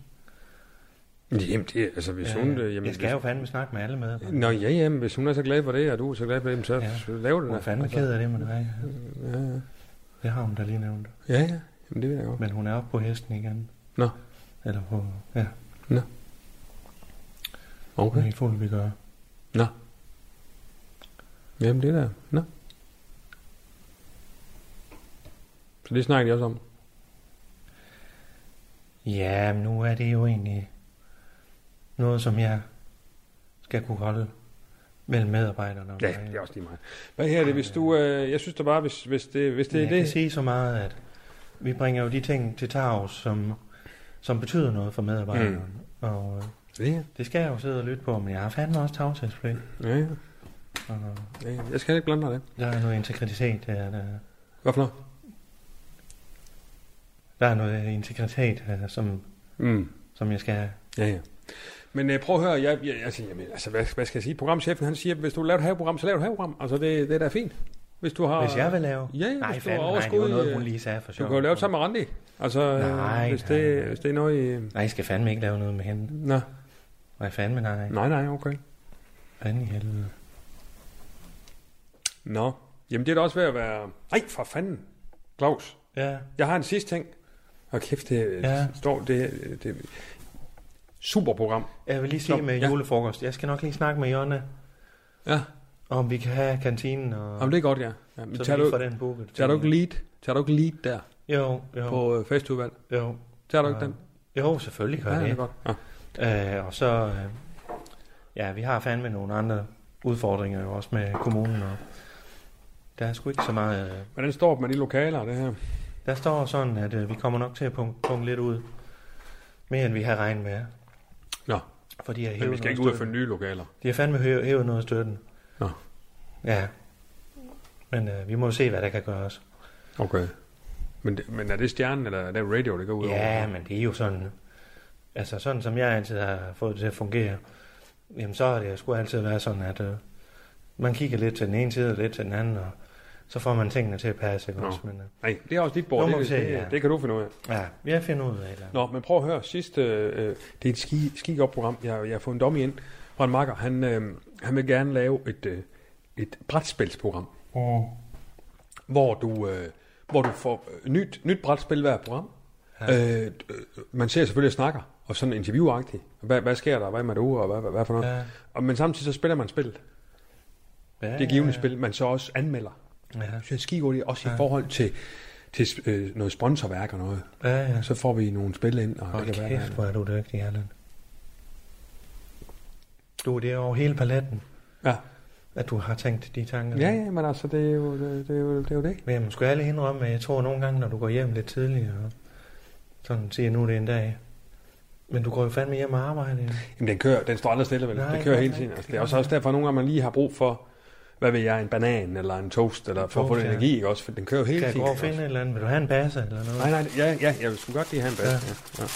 B: Jamen, det, er- altså, hvis
A: Øh,
B: hun... Øh, jamen,
A: jeg skal jo fandme snakke med alle med.
B: hvis... Nå, ja, jamen, hvis hun er så glad for det, og du er så glad for det, jamen, så
A: Ja.
B: ja. lav det
A: Hun
B: da.
A: er fandme
B: Altså,
A: ked af det med dig.
B: Ja, ja.
A: Det har hun da lige nævnt.
B: ja, ja. Jamen, det ved jeg godt.
A: Men hun er oppe på hesten igen.
B: Nå.
A: Eller på, ja, hun er
B: Okay.
A: helt fuld, vi gør.
B: Nå. Jamen, det der. Nå. Så det snakker de også om.
A: Ja, men nu er det jo egentlig noget, som jeg skal kunne holde mellem medarbejderne. og
B: Ja,
A: mig.
B: det er også lige meget. Hvad her er det, hvis du... Øh, jeg synes da bare, hvis, hvis det, hvis det
A: Men
B: er
A: jeg kan
B: det...
A: sige så meget, at vi bringer jo de ting til Tavs, som, som betyder noget for medarbejderne. Mm. Og øh,
B: Ja,
A: det skal jeg jo sidde og lytte på, men jeg har fandme også tavshedspligt.
B: ja, ja,
A: Og
B: ja. Jeg skal ikke blande mig i det.
A: Der er noget integritet her. Der,
B: Hvad for noget?
A: der er noget integritet her, som,
B: Mm.
A: som jeg skal have.
B: Ja, ja. Men øh, prøv at høre, jeg, jeg, altså, jamen, altså, hvad, hvad skal jeg sige? Programchefen, han siger, hvis du laver et haveprogram, så laver du et haveprogram. Altså, det, det er da fint. Hvis du har...
A: Hvis jeg vil lave...
B: Ja, ja,
A: Nej,
B: hvis du
A: fandme,
B: har
A: nej, det var
B: overskud...
A: noget, hun
B: øh,
A: lige sagde for
B: Du
A: sjov.
B: kan jo lave det sammen med Randi. Altså, nej,
A: Nej,
B: hvis,
A: nej,
B: det,
A: nej.
B: hvis det er noget i...
A: Nej, jeg skal fandme ikke lave noget med hende.
B: Nå,
A: Nej, fandme nej.
B: nej, nej, okay.
A: Fanden i helvede.
B: Nå, jamen det er da også ved at være... Ej, for fanden, Claus.
A: Ja,
B: Jeg har en sidste ting. Og kæft, det ja.
A: Ja.
B: står... Det, øh, det, super program.
A: jeg vil lige sige
B: Nå,
A: med
B: ja.
A: julefrokost. Jeg skal nok lige snakke med Jonna,
B: Ja,
A: om vi kan have kantinen, og
B: jamen, det er godt, ja. ja men
A: så
B: tager
A: vi
B: du,
A: får den booket.
B: tager du ikke lead? Tager du ikke lead der
A: Jo,
B: jo.
A: jo,
B: på øh, festudvalg?
A: jo.
B: Tager du ikke
A: Ja.
B: den?
A: Jo, selvfølgelig gør
B: ja,
A: jeg
B: det er
A: det.
B: godt. Ja.
A: Øh, og så, øh, ja, vi har fandme nogle andre udfordringer jo også med kommunen. Og der er sgu ikke så meget... Øh,
B: Hvordan står det med de lokaler, og det her?
A: der står sådan, at øh, vi kommer nok til at punkt, punkt lidt ud. Mere end vi har regnet med.
B: Nå.
A: For de har
B: Men
A: hævet
B: vi skal
A: noget
B: ikke ud og
A: støtten.
B: finde nye lokaler.
A: De har fandme hævet, hævet noget af støtten.
B: Nå.
A: Ja. Men øh, vi må jo se, hvad der kan gøres.
B: Okay. Men, det- men er det stjernen, eller er det radio, det går ud
A: Ja,
B: over?
A: men det er jo sådan... Altså sådan, som jeg altid har fået det til at fungere, jamen så har det sgu altid været sådan, at øh, man kigger lidt til den ene side og lidt til den anden, og så får man tingene til at passe. Ikke
B: Nå.
A: også? Men, øh,
B: Nej, det er også dit
A: Nå,
B: bord.
A: må
B: Det,
A: vi
B: det,
A: se,
B: det,
A: ja.
B: det, kan du finde ud af.
A: ja, jeg finder ud af et eller andet.
B: Nå, men prøv at høre. Sidste, øh, det er et ski, ski program jeg, jeg har fået en dommer ind fra en makker. Han, øh, han vil gerne lave et, øh, et brætspilsprogram,
A: Mm.
B: hvor du, øh, hvor du får øh, nyt, nyt brætspil hver program. Ja.
A: Ja.
B: Øh, øh, man ser selvfølgelig og snakker, og sådan interviewagtigt. Hvad, hvad sker der? Hvad med du? Og hvad, hvad, hvad for noget? Ja.
A: Ja.
B: Og, men samtidig så spiller man spillet.
A: Ja,
B: Det givende spil, man så også anmelder.
A: Ja,
B: synes jeg er skigod, også i
A: Ja.
B: forhold til, til øh, noget sponsorværk og noget.
A: ja, ja.
B: Så får vi nogle spil ind. Og
A: Hold
B: det kan være,
A: kæft, hvor er du dygtig, Allan. Du, det er over hele paletten,
B: Ja.
A: at du har tænkt de tanker.
B: ja, ja, men altså, det er jo det. Det er jo det. Er jo det.
A: Men jeg må sgu alle indrømme, at jeg tror nogle gange, når du går hjem lidt tidligere, og sådan siger nu er det en dag, men du går jo fandme hjem og arbejder. jo.
B: Jamen, den, kører, den står aldrig stille, vel? Nej,
A: Nej,
B: det kører
A: nej,
B: hele
A: nej.
B: tiden. Altså, det er også, også derfor, at nogle gange man lige har brug for, hvad ved jeg, en banan eller en toast, eller for at få
A: Toast,
B: lidt
A: ja.
B: energi, ikke også? For den kører jo hele
A: Kan jeg
B: tiden.
A: gå og
B: ikke
A: finde et
B: også?
A: eller andet? Vil du have en basse eller noget?
B: Nej, nej, ja, ja, jeg skulle godt lige have en bas. Ja. Ja, ja.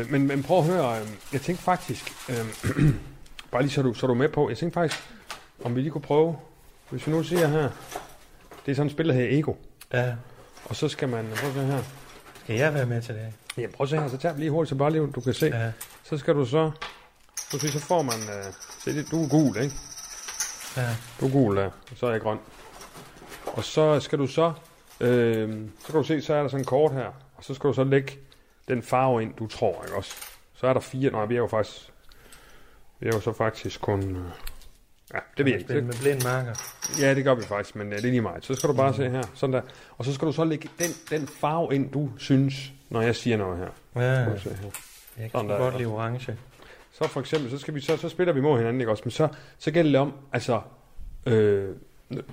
B: Øh, men, men prøv at høre, øh, jeg tænkte faktisk, øh, bare lige så du, så du er med på, jeg tænkte faktisk, om vi lige kunne prøve, hvis vi nu siger her, det er sådan et spil, der hedder Ego.
A: Ja.
B: Og så skal man, prøv at se her.
A: Skal jeg være med til det?
B: Ja, prøv at se her, så tager vi lige hurtigt, så bare lige, du kan se. Ja.
A: Ja.
B: Så skal du så, du siger, så får man, øh, se det, du er gul, ikke?
A: ja.
B: Du er gul, ja, og så er jeg grøn. Og så skal du så, øh, så kan du se, så er der sådan en kort her, og så skal du så lægge den farve ind, du tror, ikke også? Så er der fire, nej, vi er jo faktisk, vi er jo så faktisk kun, øh, ja, det ved jeg ikke.
A: Spil
B: Det-
A: med blind marker.
B: Ja, det gør vi faktisk, men ja, det er lige meget. Så skal du bare se her, sådan der. Og så skal du så lægge den, den farve ind, du synes, når jeg siger noget her.
A: Ja.
B: Prøv at se her.
A: Jeg kan
B: Sådan
A: sgu
B: der.
A: godt lide orange.
B: Så for eksempel, så, skal vi, så, så spiller vi mod hinanden, ikke også? Men så, så gælder det om, altså, øh,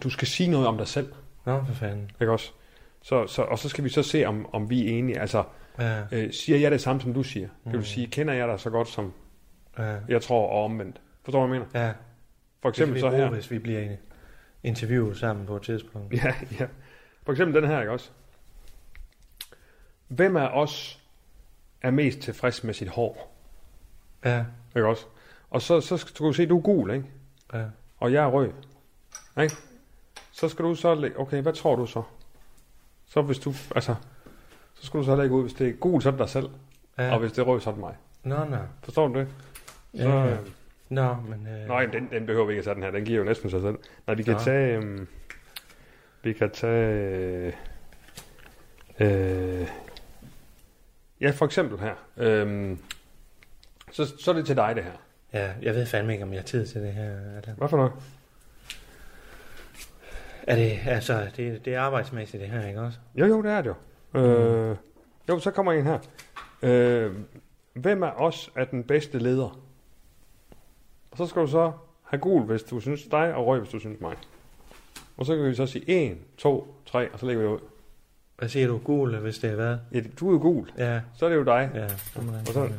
B: du skal sige noget om dig selv,
A: Nå, for fanden.
B: ikke også? Så, så, og så skal vi så se, om, om vi er enige. Altså,
A: Ja.
B: øh, siger jeg det samme, som du siger? Det
A: Mm.
B: vil sige, kender jeg dig så godt, som
A: Ja.
B: jeg tror, og omvendt? Forstår du, hvad jeg mener?
A: ja.
B: For
A: Det kan
B: eksempel
A: vi
B: så
A: bruge,
B: her.
A: hvis vi bliver interviewet sammen på et tidspunkt.
B: Ja, ja. For eksempel den her, ikke også? Hvem af os er mest tilfreds med sit hår?
A: Ja.
B: Ikke også? Og så, så skal du se, du er gul, ikke?
A: Ja.
B: Og jeg er rød. Ikke? Så skal du så lægge... Okay, hvad tror du så? Så hvis du... Altså... Så skal du så lægge ud, hvis det er gul, så er det dig selv. Ja.
A: ja.
B: Og hvis det er rød, så er det mig.
A: Nå, nå.
B: Forstår du det?
A: Ja,
B: Så,
A: ja.
B: øh,
A: Nå, men... Øh,
B: Nej, men den, den behøver vi ikke at tage den her. Den giver jo næsten sig selv. Nej, vi kan
A: Nå.
B: tage... Øhm, vi kan tage... Øh, øh, ja, for eksempel her. Øhm, så, så er det til dig, det her.
A: Ja, jeg ved fandme ikke, om jeg har tid til det her. Allan.
B: Hvad for noget?
A: Er det, altså, det, det er arbejdsmæssigt det her, ikke også?
B: Jo, jo, det er det jo. Øh, jo, så kommer en her. Øh, hvem af os er den bedste leder? Og så skal du så have gul, hvis du synes dig, og rød, hvis du synes mig. Og så kan vi så sige 1, 2, 3, og så lægger vi det ud.
A: Hvad siger du? Gul, hvis det er hvad?
B: Ja, du er jo gul.
A: Ja,
B: Så er det jo dig.
A: ja. Så må jeg
B: Og så-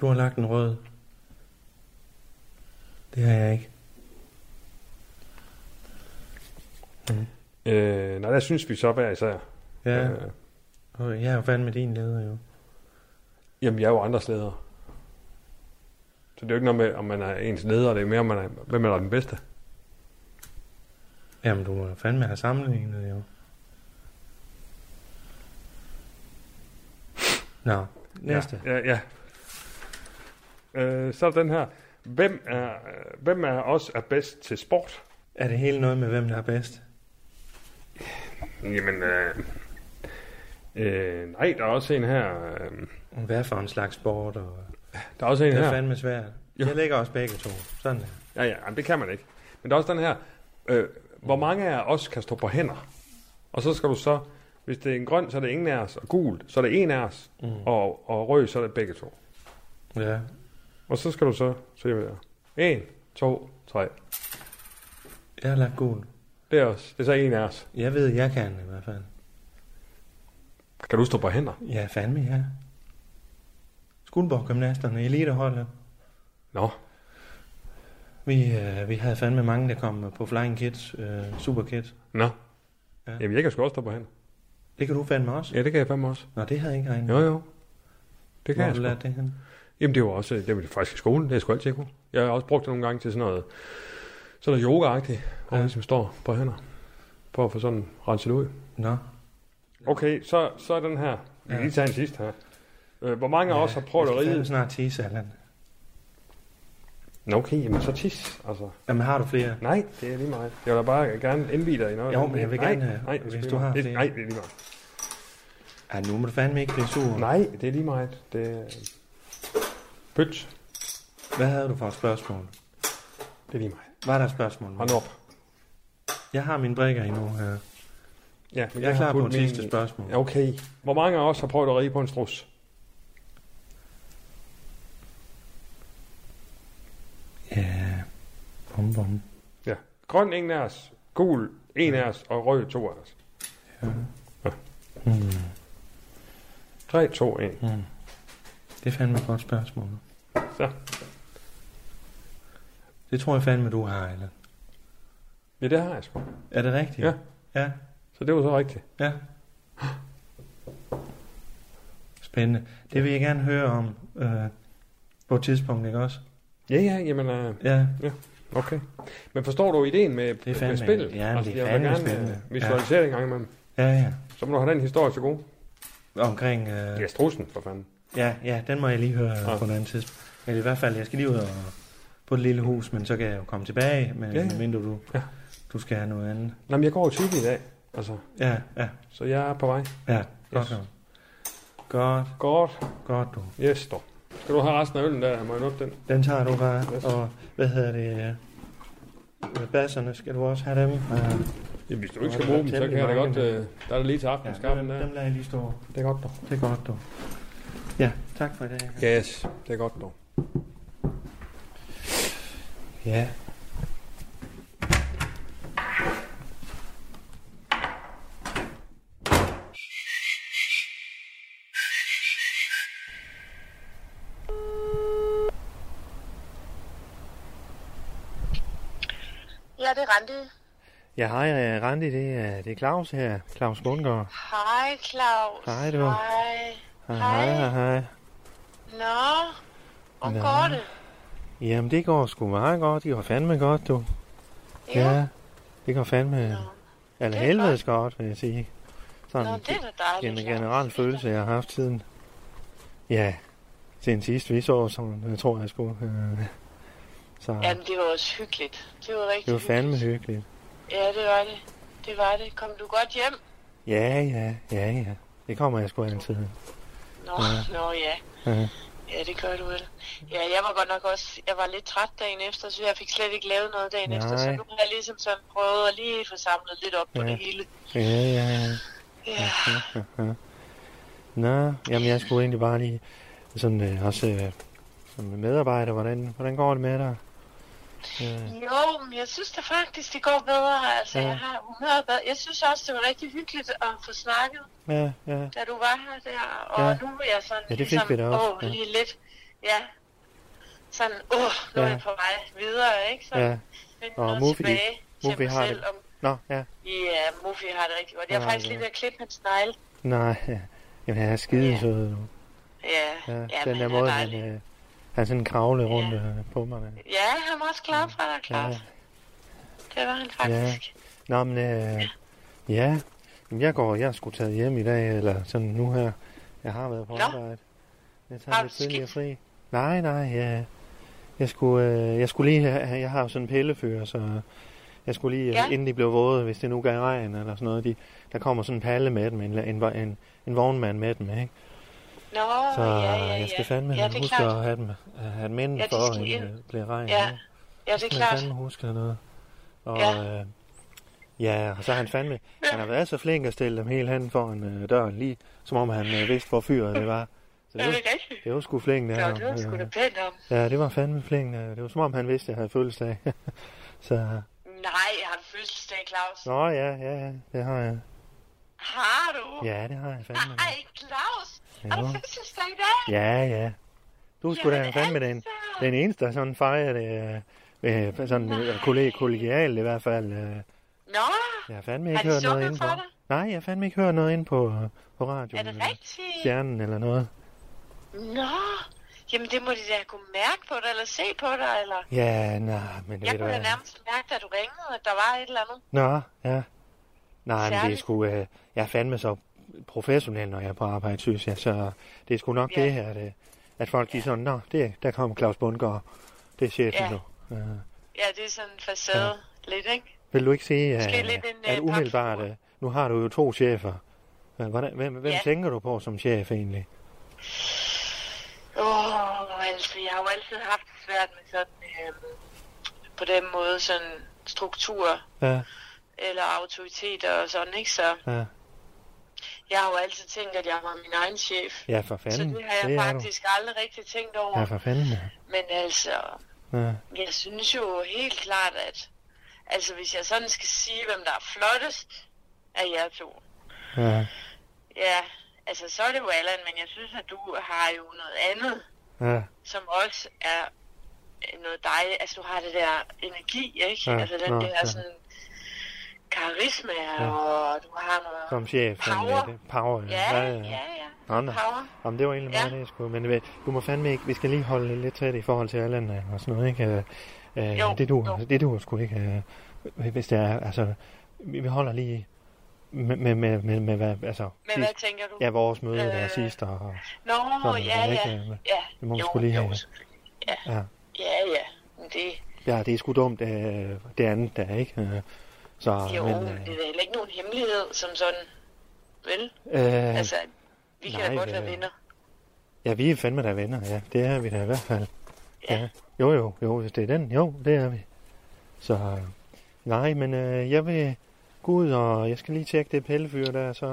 A: Du har lagt en rød. Det har jeg ikke.
B: Øh, nej, der synes vi så hver især.
A: Ja,
B: Øh,
A: og jeg er jo fandme din leder jo.
B: jamen, jeg er jo andres leder. Så det er jo ikke noget med, om man er ens leder, det er mere, om man er, hvem er der den bedste.
A: Jamen, du må da fandme have sammenlignet, jo. Nå, næste.
B: Ja, ja. ja. Øh, så er der den her. Hvem er, hvem er os er bedst til sport?
A: Er det hele noget med, hvem der er bedst?
B: Jamen, øh, øh, nej, der er også en her. Øh,
A: Hvad for en slags sport? Og...
B: der er også en
A: Det er
B: her.
A: fandme svært.
B: Jo.
A: Jeg lægger også begge to. Sådan der.
B: Ja, ja, jamen, det kan man ikke. Men der er også den her. Øh, hvor mange af os kan stå på hænder? Og så skal du så, hvis det er en grøn, så er det ingen af os, og gul, så er det en af os,
A: Mm.
B: og, og rød, så er det begge to.
A: Ja.
B: Og så skal du så servere. En, to, tre.
A: Jeg har lagt gul.
B: Det er os. Det er så en af os.
A: Jeg ved, jeg kan i hvert fald.
B: Kan du stå på hænder?
A: Ja, fandme ja. Skuldborg Gymnasterne, eliteholdet.
B: Nå.
A: Vi, øh, vi havde fandme mange, der kom på Flying Kids, øh, Super Kids.
B: Nå.
A: Ja.
B: Ja. Jamen, jeg kan sgu også stå på hænder.
A: Det kan du fandme også.
B: Ja, det kan jeg fandme også.
A: Nå, det havde jeg ikke regnet.
B: Jo, jo. Det
A: Hvor
B: kan
A: har du
B: jeg
A: lært
B: sgu.
A: det hen?
B: Jamen, det var også det var faktisk i skolen. Det er jeg sgu altid ikke. Jeg har også brugt det nogle gange til sådan noget, sådan noget yoga-agtigt,
A: Ja.
B: hvor ja. ligesom står på hænder, for at få sådan renset ud.
A: Nå.
B: Okay, så, så er den her. Vi kan
A: Ja.
B: lige tage en sidste her. Øh, Hvor mange af os har prøvet at
A: Jeg skal fandme
B: ride?
A: snart tisse, Allan.
B: Nå, okay, jamen så tis. Altså,
A: Jamen, har du flere?
B: Nej, det er lige meget. Jeg vil da bare gerne indvide dig i noget.
A: Jo, men jeg vil
B: nej,
A: gerne have-
B: nej,
A: hvis
B: det er
A: du har
B: lige
A: flere.
B: meget. Det, nej, det er lige meget.
A: Ej, nu må du fandme ikke blive sur.
B: Nej, det er lige meget. Det er... Pyt,
A: Hvad havde du for et spørgsmål?
B: det er lige meget.
A: Var der et spørgsmål?
B: Hold nu op.
A: Jeg har mine brikker endnu her.
B: Ja, men
A: Jeg er
B: har
A: klar på et
B: puttet min-
A: sidste spørgsmål.
B: Ja, Okay. Hvor mange af os har prøvet at ride på en strus?
A: Ja. Bum, bum.
B: Ja. Grøn ingen af os, gul en af os og rød to af os.
A: Hmm.
B: 3, 2, 1.
A: Hmm. Det er fandme et godt spørgsmål.
B: Så.
A: Det tror jeg fandme, du har, Allan.
B: Ja, det har jeg sgu.
A: Er det rigtigt?
B: Ja.
A: Ja,
B: Så det var så rigtigt.
A: ja. Spændende. Det vil jeg gerne høre om øh, på et tidspunkt, ikke også?
B: Ja, ja, jamen, øh,
A: Ja.
B: okay. Men forstår du ideen med,
A: er fandme-
B: med
A: ja,
B: spillet?
A: det er
B: jeg vil da
A: fandme
B: gerne øh,
A: spændende.
B: visualisere det en gang imellem.
A: Ja, ja.
B: Så må du have den historie til gode.
A: Omkring... Øh,
B: Ja, strusen, for fanden.
A: Ja, ja, den må jeg lige høre ja.
B: Ja.
A: på et andet tidspunkt. Eller i hvert fald, jeg skal lige ud og på et lille hus, men så kan jeg jo komme tilbage, men
B: Ja,
A: ja.
B: ja.
A: mindre du, ja.
B: Ja.
A: du skal have noget andet.
B: Nå, men jeg går jo tidligt i dag, altså,
A: Ja, ja,
B: så jeg er på vej.
A: ja, godt yes.
B: Yes.
A: Godt,
B: Godt,
A: godt du.
B: yes, dog. Skal du have resten af øllen der? Må jeg nuppe den?
A: Den tager du bare, yes.
B: Yes.
A: og hvad hedder det, øh, basserne, skal du også have dem? Øh, Ja,
B: Ja, hvis du
A: ikke skal
B: ikke skal
A: bruge
B: bruge dem, så kan jeg da godt... Øh, der er det lige til aften,
A: ja dem,
B: skarpen
A: dem
B: der.
A: lader jeg lige stå.
B: Det er godt, dog.
A: Det er godt du. Ja, tak for i dag.
B: Yes, det er godt, dog.
A: Ja.
D: Ja, det er Randi.
A: Ja, hej øh, Randi, det er, det er Claus her, Claus Bundgaard.
D: Hej, Claus.
A: Hej, du.
D: Hej.
A: Hej,
D: Hej.
A: hej, hej. hej.
D: Nå, om
A: Nå.
D: går det?
A: Jamen, det går sgu meget godt. Det går fandme godt, du. Ja, det går fandme...
D: Nå.
A: Eller
D: det er
A: helvedes godt, vil jeg sige. Sådan
D: Nå, det er da dejligt.
A: en
D: Claus.
A: generel følelse, jeg har haft siden... Ja, siden sidst vi så, som jeg tror, jeg skulle. Øh, Så
D: Jamen, det var også hyggeligt. Det var rigtig
A: det var fandme hyggeligt.
D: Ja, det var det. Det var det. Kom du godt hjem?
A: Ja, ja, ja, ja. Det kommer jeg sgu altid.
D: Nå,
A: Ja.
D: ja. nå ja.
A: Ja.
D: Ja, det gør du vel. Ja, jeg var godt nok også, jeg var lidt træt dagen efter, så jeg fik slet ikke lavet noget dagen
A: Nej.
D: efter, så nu har jeg ligesom sådan prøvet at lige få samlet lidt op på
A: Ja.
D: det hele.
A: Ja, ja, ja.
D: Ja,
A: Nå, jamen jeg skulle egentlig bare lige... Sådan øh, også øh, som medarbejder, hvordan, hvordan går det med dig? Øh,
D: Jo, men jeg synes da faktisk, det går bedre. Altså,
A: Ja.
D: ja. jeg har humøret bedre. Jeg synes også, det var rigtig hyggeligt at få snakket,
A: Ja, ja,
D: da du var her der. Og
A: Ja.
D: ja. nu er jeg sådan ligesom
A: Ja, det fik vi da også,
D: åh,
A: ja.
D: lige lidt, ja, sådan, åh, nu
A: Ja.
D: er jeg på vej videre, ikke? Så
A: ja.
D: finde
A: Og
D: noget
A: Mufi,
D: tilbage
A: Mufi
D: til mig
A: har
D: selv.
A: det.
D: Om,
A: Nå, ja.
D: ja, Mufi har det rigtig godt. Jeg er
A: Ja,
D: faktisk
A: ja.
D: lige ved at klippe hans negle.
A: Nej, ja. jamen han er skide
D: Ja.
A: sød nu. Ja,
D: Ja, ja
A: den
D: men
A: der
D: han er
A: måde,
D: dejlig.
A: han, øh, han sådan kravle rundt øh, på mig. der.
D: Ja, han var også glad for dig, Claus.
A: Ja.
D: Det var han faktisk.
A: Nå, men øh, ja, Jamen, jeg går, jeg skulle taget hjem i dag, eller sådan nu her. Jeg har været på
D: Nå.
A: arbejde. Jeg tager
D: Har
A: lidt
D: du
A: tidligere
D: skift?
A: fri. Nej, nej, ja. Jeg skulle, øh, jeg skulle lige have, jeg har jo sådan en pillefyr, så jeg skulle lige, ja.
D: Ja.
A: inden de blev våde, hvis det nu gav regn eller sådan noget, de, der kommer sådan en palle med dem, en, en, en, en vognmand med dem, ikke?
D: Nå,
A: Så
D: ja, ja, ja.
A: jeg skal fandme
D: ja, det er
A: huske
D: klart.
A: at have dem, at have dem inden
D: Ja, de
A: for,
D: skal
A: inden
D: ind.
A: det bliver regn.
D: Ja,
A: ikke?
D: Ja, det er
A: skal
D: klart.
A: han fandme huske noget. Og, ja.
D: Ja.
A: Øh, ja, og så har han fandme... Han har været så flink at stille dem helt hen foran øh, døren, lige som om han øh, vidste, hvor fyret det var. Så
D: Ja,
A: det var,
D: det er rigtigt.
A: det var sgu flink, det
D: Nå,
A: her.
D: det var sgu da
A: Øh,
D: pænt om.
A: Ja, det var fandme flink. øh. Det var som om, han vidste, at jeg havde fødselsdag. så,
D: Nej, jeg har en fødselsdag, Claus.
A: nå ja, ja, ja, det har jeg.
D: Har du?
A: Ja, det har jeg fandme.
D: Nej, Claus. Har du
A: Jo.
D: fødselsdag i dag?
A: Ja, ja. Du skulle da
D: Jamen,
A: fandme den,
D: altså.
A: den eneste, der sådan fejrer det, øh, øh, sådan øh, kolleg- kollegialt i hvert fald. Øh,
D: Nå,
A: Jeg har fandme
D: Har
A: ikke
D: de
A: hørt noget
D: sukket
A: ind på.
D: for dig?
A: Nej, jeg har fandme ikke hørt noget ind på, øh, på radioen.
D: er det
A: eller
D: rigtigt?
A: Stjernen eller noget.
D: Nå, jamen det må de da kunne mærke på dig, eller se på dig, eller...
A: Ja, nej, men det
D: Jeg
A: ved du
D: kunne da
A: hvad.
D: nærmest mærke, da du ringede, at der var et eller andet.
A: Nå, ja. Nej, men det er
D: Særligt.
A: sgu... Øh, jeg er fandme så professionel, når jeg er på arbejde, synes jeg. Så det er sgu nok
D: Ja.
A: det her, det, at folk de er sådan, Nå, det, der kommer Claus Bundgaard. Det er chefen
D: Ja.
A: nu. Øh,
D: Ja, det er sådan en facade lidt, ikke?
A: vil du ikke sige,
D: Måske
A: at,
D: lidt en, øh,
A: at umiddelbart...
D: papfigur.
A: Øh, nu har du jo to chefer. Øh, Hvordan, hvem, hvem
D: Ja.
A: tænker du på som chef egentlig?
D: Åh, oh, altså, jeg har jo altid haft det svært med sådan... Øh, på den måde sådan struktur
A: Ja,
D: eller autoriteter og sådan, ikke? Så
A: ja,
D: jeg har jo altid tænkt, at jeg var min egen chef.
A: ja for
D: Så
A: fanden.
D: det har jeg
A: er du.
D: faktisk aldrig rigtig tænkt over.
A: Ja, for fanden. ja.
D: Men altså,
A: Ja.
D: Jeg synes jo helt klart, at altså, hvis jeg sådan skal sige, hvem der er flottest af jer to,
A: Ja,
D: ja, altså så er det jo Allan, men jeg synes, at du har jo noget andet,
A: ja,
D: som også er øh, noget dejligt. Altså du har det der energi, ikke?
A: Ja,
D: Ja, altså den
A: nå,
D: ja, der
A: ja.
D: sådan karisma,
A: Ja.
D: ja. og du har noget...
A: som chef. sådan
D: Power.
A: lidt. Power,
D: Ja, ja, ja. ja.
A: Nå, nå.
D: Power.
A: Jamen, det var egentlig
D: Ja.
A: meget det, jeg skulle. Men ved- du må fandme ikke, vi skal lige holde lidt tæt i forhold til Allan øh, og sådan noget, ikke? Øh, Øh,
D: Jo,
A: det duer,
D: jo.
A: det duer sgu ikke, øh, hvis det er, altså, vi vi holder lige med, med, med, med, med hvad, altså,
D: Men hvad tænker du?
A: ja, vores møde der
D: Øh,
A: sidst, og, og
D: Nå,
A: sådan,
D: ja,
A: ikke?
D: ja.
A: Øh,
D: Ja,
A: Det må vi
D: jo,
A: sgu lige
D: jo,
A: have.
D: selvfølgelig. Ja,
A: Ja.
D: ja, ja. Men det,
A: ja, det er sgu dumt, øh, det andet der, ikke? Øh, Så,
D: Jo,
A: men,
D: men,
A: øh,
D: det er da heller ikke nogen hemmelighed som sådan. Vel?
A: øh,
D: altså, vi kan
A: nej,
D: da godt være
A: øh,
D: venner.
A: ja, vi er fandme da venner, ja, det er vi da i hvert fald.
D: Ja.
A: ja. Jo, jo, jo, hvis det er den, jo, det er vi. Så, øh, nej, men øh, jeg vil gå ud, og jeg skal lige tjekke det pillefyr der, så...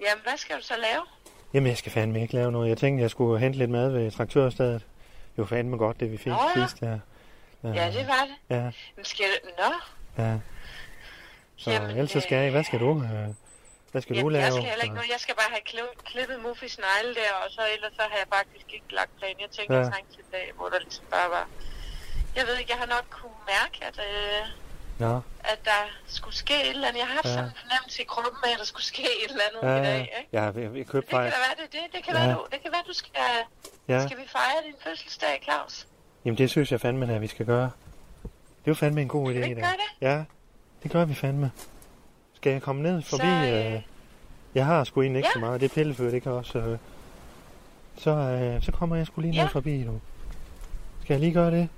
D: Jamen, hvad skal du så lave?
A: Jamen, jeg skal fandme ikke lave noget. Jeg tænkte, jeg skulle hente lidt mad ved traktørstedet. Det var fandme godt, det vi fik
D: Nå, ja.
A: sidst der. Ja,
D: Ja, det var det.
A: ja,
D: Men skal du... Nå,
A: ja. Så
D: Jamen,
A: ellers så skal jeg... Hvad skal du? Øh, hvad skal du
D: jamen,
A: lave?
D: jeg skal heller ikke noget. Jeg skal bare have kli- klippet Muffis negle der, og så ellers så har jeg faktisk ikke lagt plan. Jeg tænkte,
A: Ja.
D: ja. jeg trængte til i dag, hvor der ligesom bare var... Jeg ved ikke, jeg har nok kunne mærke, at, øh,
A: Nå,
D: at der skulle ske et eller andet. Jeg har haft
A: Ja.
D: ja. sådan en fornemmelse i kroppen af, at der skulle ske et eller andet
A: ja,
D: i dag,
A: ja.
D: ikke?
A: Ja, vi, vi købte
D: Det kan
A: faktisk...
D: da være, det, er det, det kan,
A: Ja.
D: ja. være, du, det kan være, du skal...
A: Ja.
D: Skal vi fejre din fødselsdag, Claus?
A: Jamen, det synes jeg fandme, at vi skal gøre. Det er jo fandme en god idé.
D: vi ikke
A: der.
D: gøre det?
A: Ja, det gør vi fandme. Skal jeg komme ned forbi?
D: øh,
A: øh, jeg har sgu egentlig ikke
D: ja.
A: så meget. Det er pillefør, det kan også... Øh, så, øh, så kommer jeg sgu lige ned
D: Ja.
A: forbi nu. Skal jeg lige gøre det?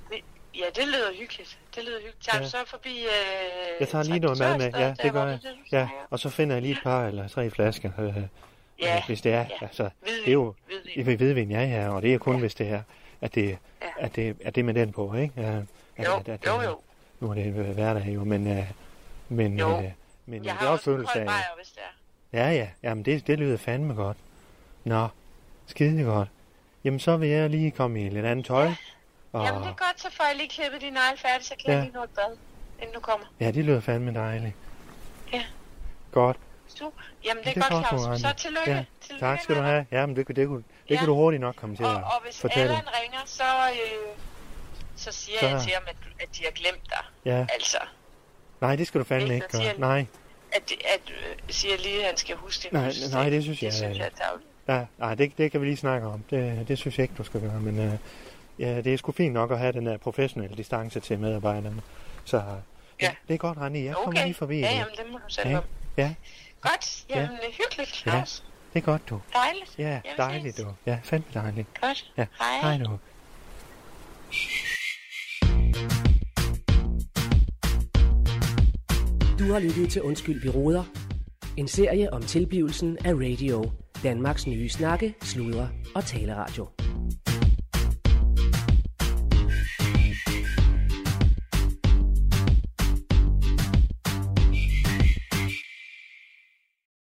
D: Ja, det lyder hyggeligt. Det lyder hyggeligt. Tager
A: Ja.
D: ja. du så forbi... Øh,
A: Jeg tager lige noget mad med. Ja, det gør jeg. Ja, og så finder jeg lige et par eller tre flasker, øh,
D: Ja,
A: øh, hvis det er.
D: ja.
A: Altså,
D: hvidvin.
A: det er jo i
D: hvidvin.
A: ved hvidvin, ja, ja, og det er kun, hvis det er, at det,
D: Ja.
A: at det, at det er med den på, ikke? Ja, at,
D: Jo,
A: at, at,
D: jo, jo.
A: Nu er det øh, hverdag jo, men, øh, men,
D: Jo.
A: Øh, men
D: Jeg
A: det er
D: har
A: også
D: også en
A: følelse
D: kold
A: af,
D: bajer, hvis det er.
A: Ja, ja. Jamen, det, det lyder fandme godt. Nå, skide godt. Jamen, så vil jeg lige komme i lidt andet tøj. Og,
D: Jamen, det er godt, så får jeg lige klippet din negle færdig, så kan
A: Ja.
D: jeg lige nå et bad, inden du kommer.
A: ja, det lyder fandme dejligt.
D: Ja.
A: Godt.
D: Så, jamen, det er,
A: Det er
D: godt,
A: godt,
D: Claus.
A: Marianne.
D: Så tillykke.
A: Ja,
D: tillykke
A: Tak skal du
D: med
A: have. Jamen, det, kunne- det, kunne, det
D: Ja.
A: kunne du hurtigt nok komme til
D: dig.
A: at
D: Og, og hvis
A: fortælle.
D: Allan ringer, så, øh, så siger
A: Så-
D: jeg til ham, at, du- at de har glemt dig.
A: Ja.
D: Altså,
A: Nej, det skal du fandme
D: Ikke,
A: ikke
D: så siger
A: gøre.
D: han-
A: Nej,
D: at, at øh, siger lige, at han skal huske det.
A: Nej, nej, det synes jeg-
D: Det synes jeg, er dagligt.
A: nej, nej det, det kan vi lige snakke om. Det, det synes jeg ikke, du skal gøre. Men øh, ja, det er sgu fint nok at have den der professionelle distance til medarbejderne. Så,
D: Ja.
A: Det er godt, Randi. Jeg kommer
D: Okay.
A: lige forbi.
D: ja,
A: igen.
D: jamen, det må du selv
A: Ja.
D: om.
A: ja,
D: Godt. Jamen, det er hyggeligt, Claus.
A: det er godt, du.
D: Dejligt.
A: Ja,
D: Jamen,
A: dejligt,
D: ses.
A: du. Ja, fandme dejligt.
D: Godt.
A: Ja.
D: Hej.
A: Hej nu.
C: Du har lyttet til Undskyld, vi råder. En serie om tilblivelsen af radio. Danmarks nye snakke, sludre og taleradio.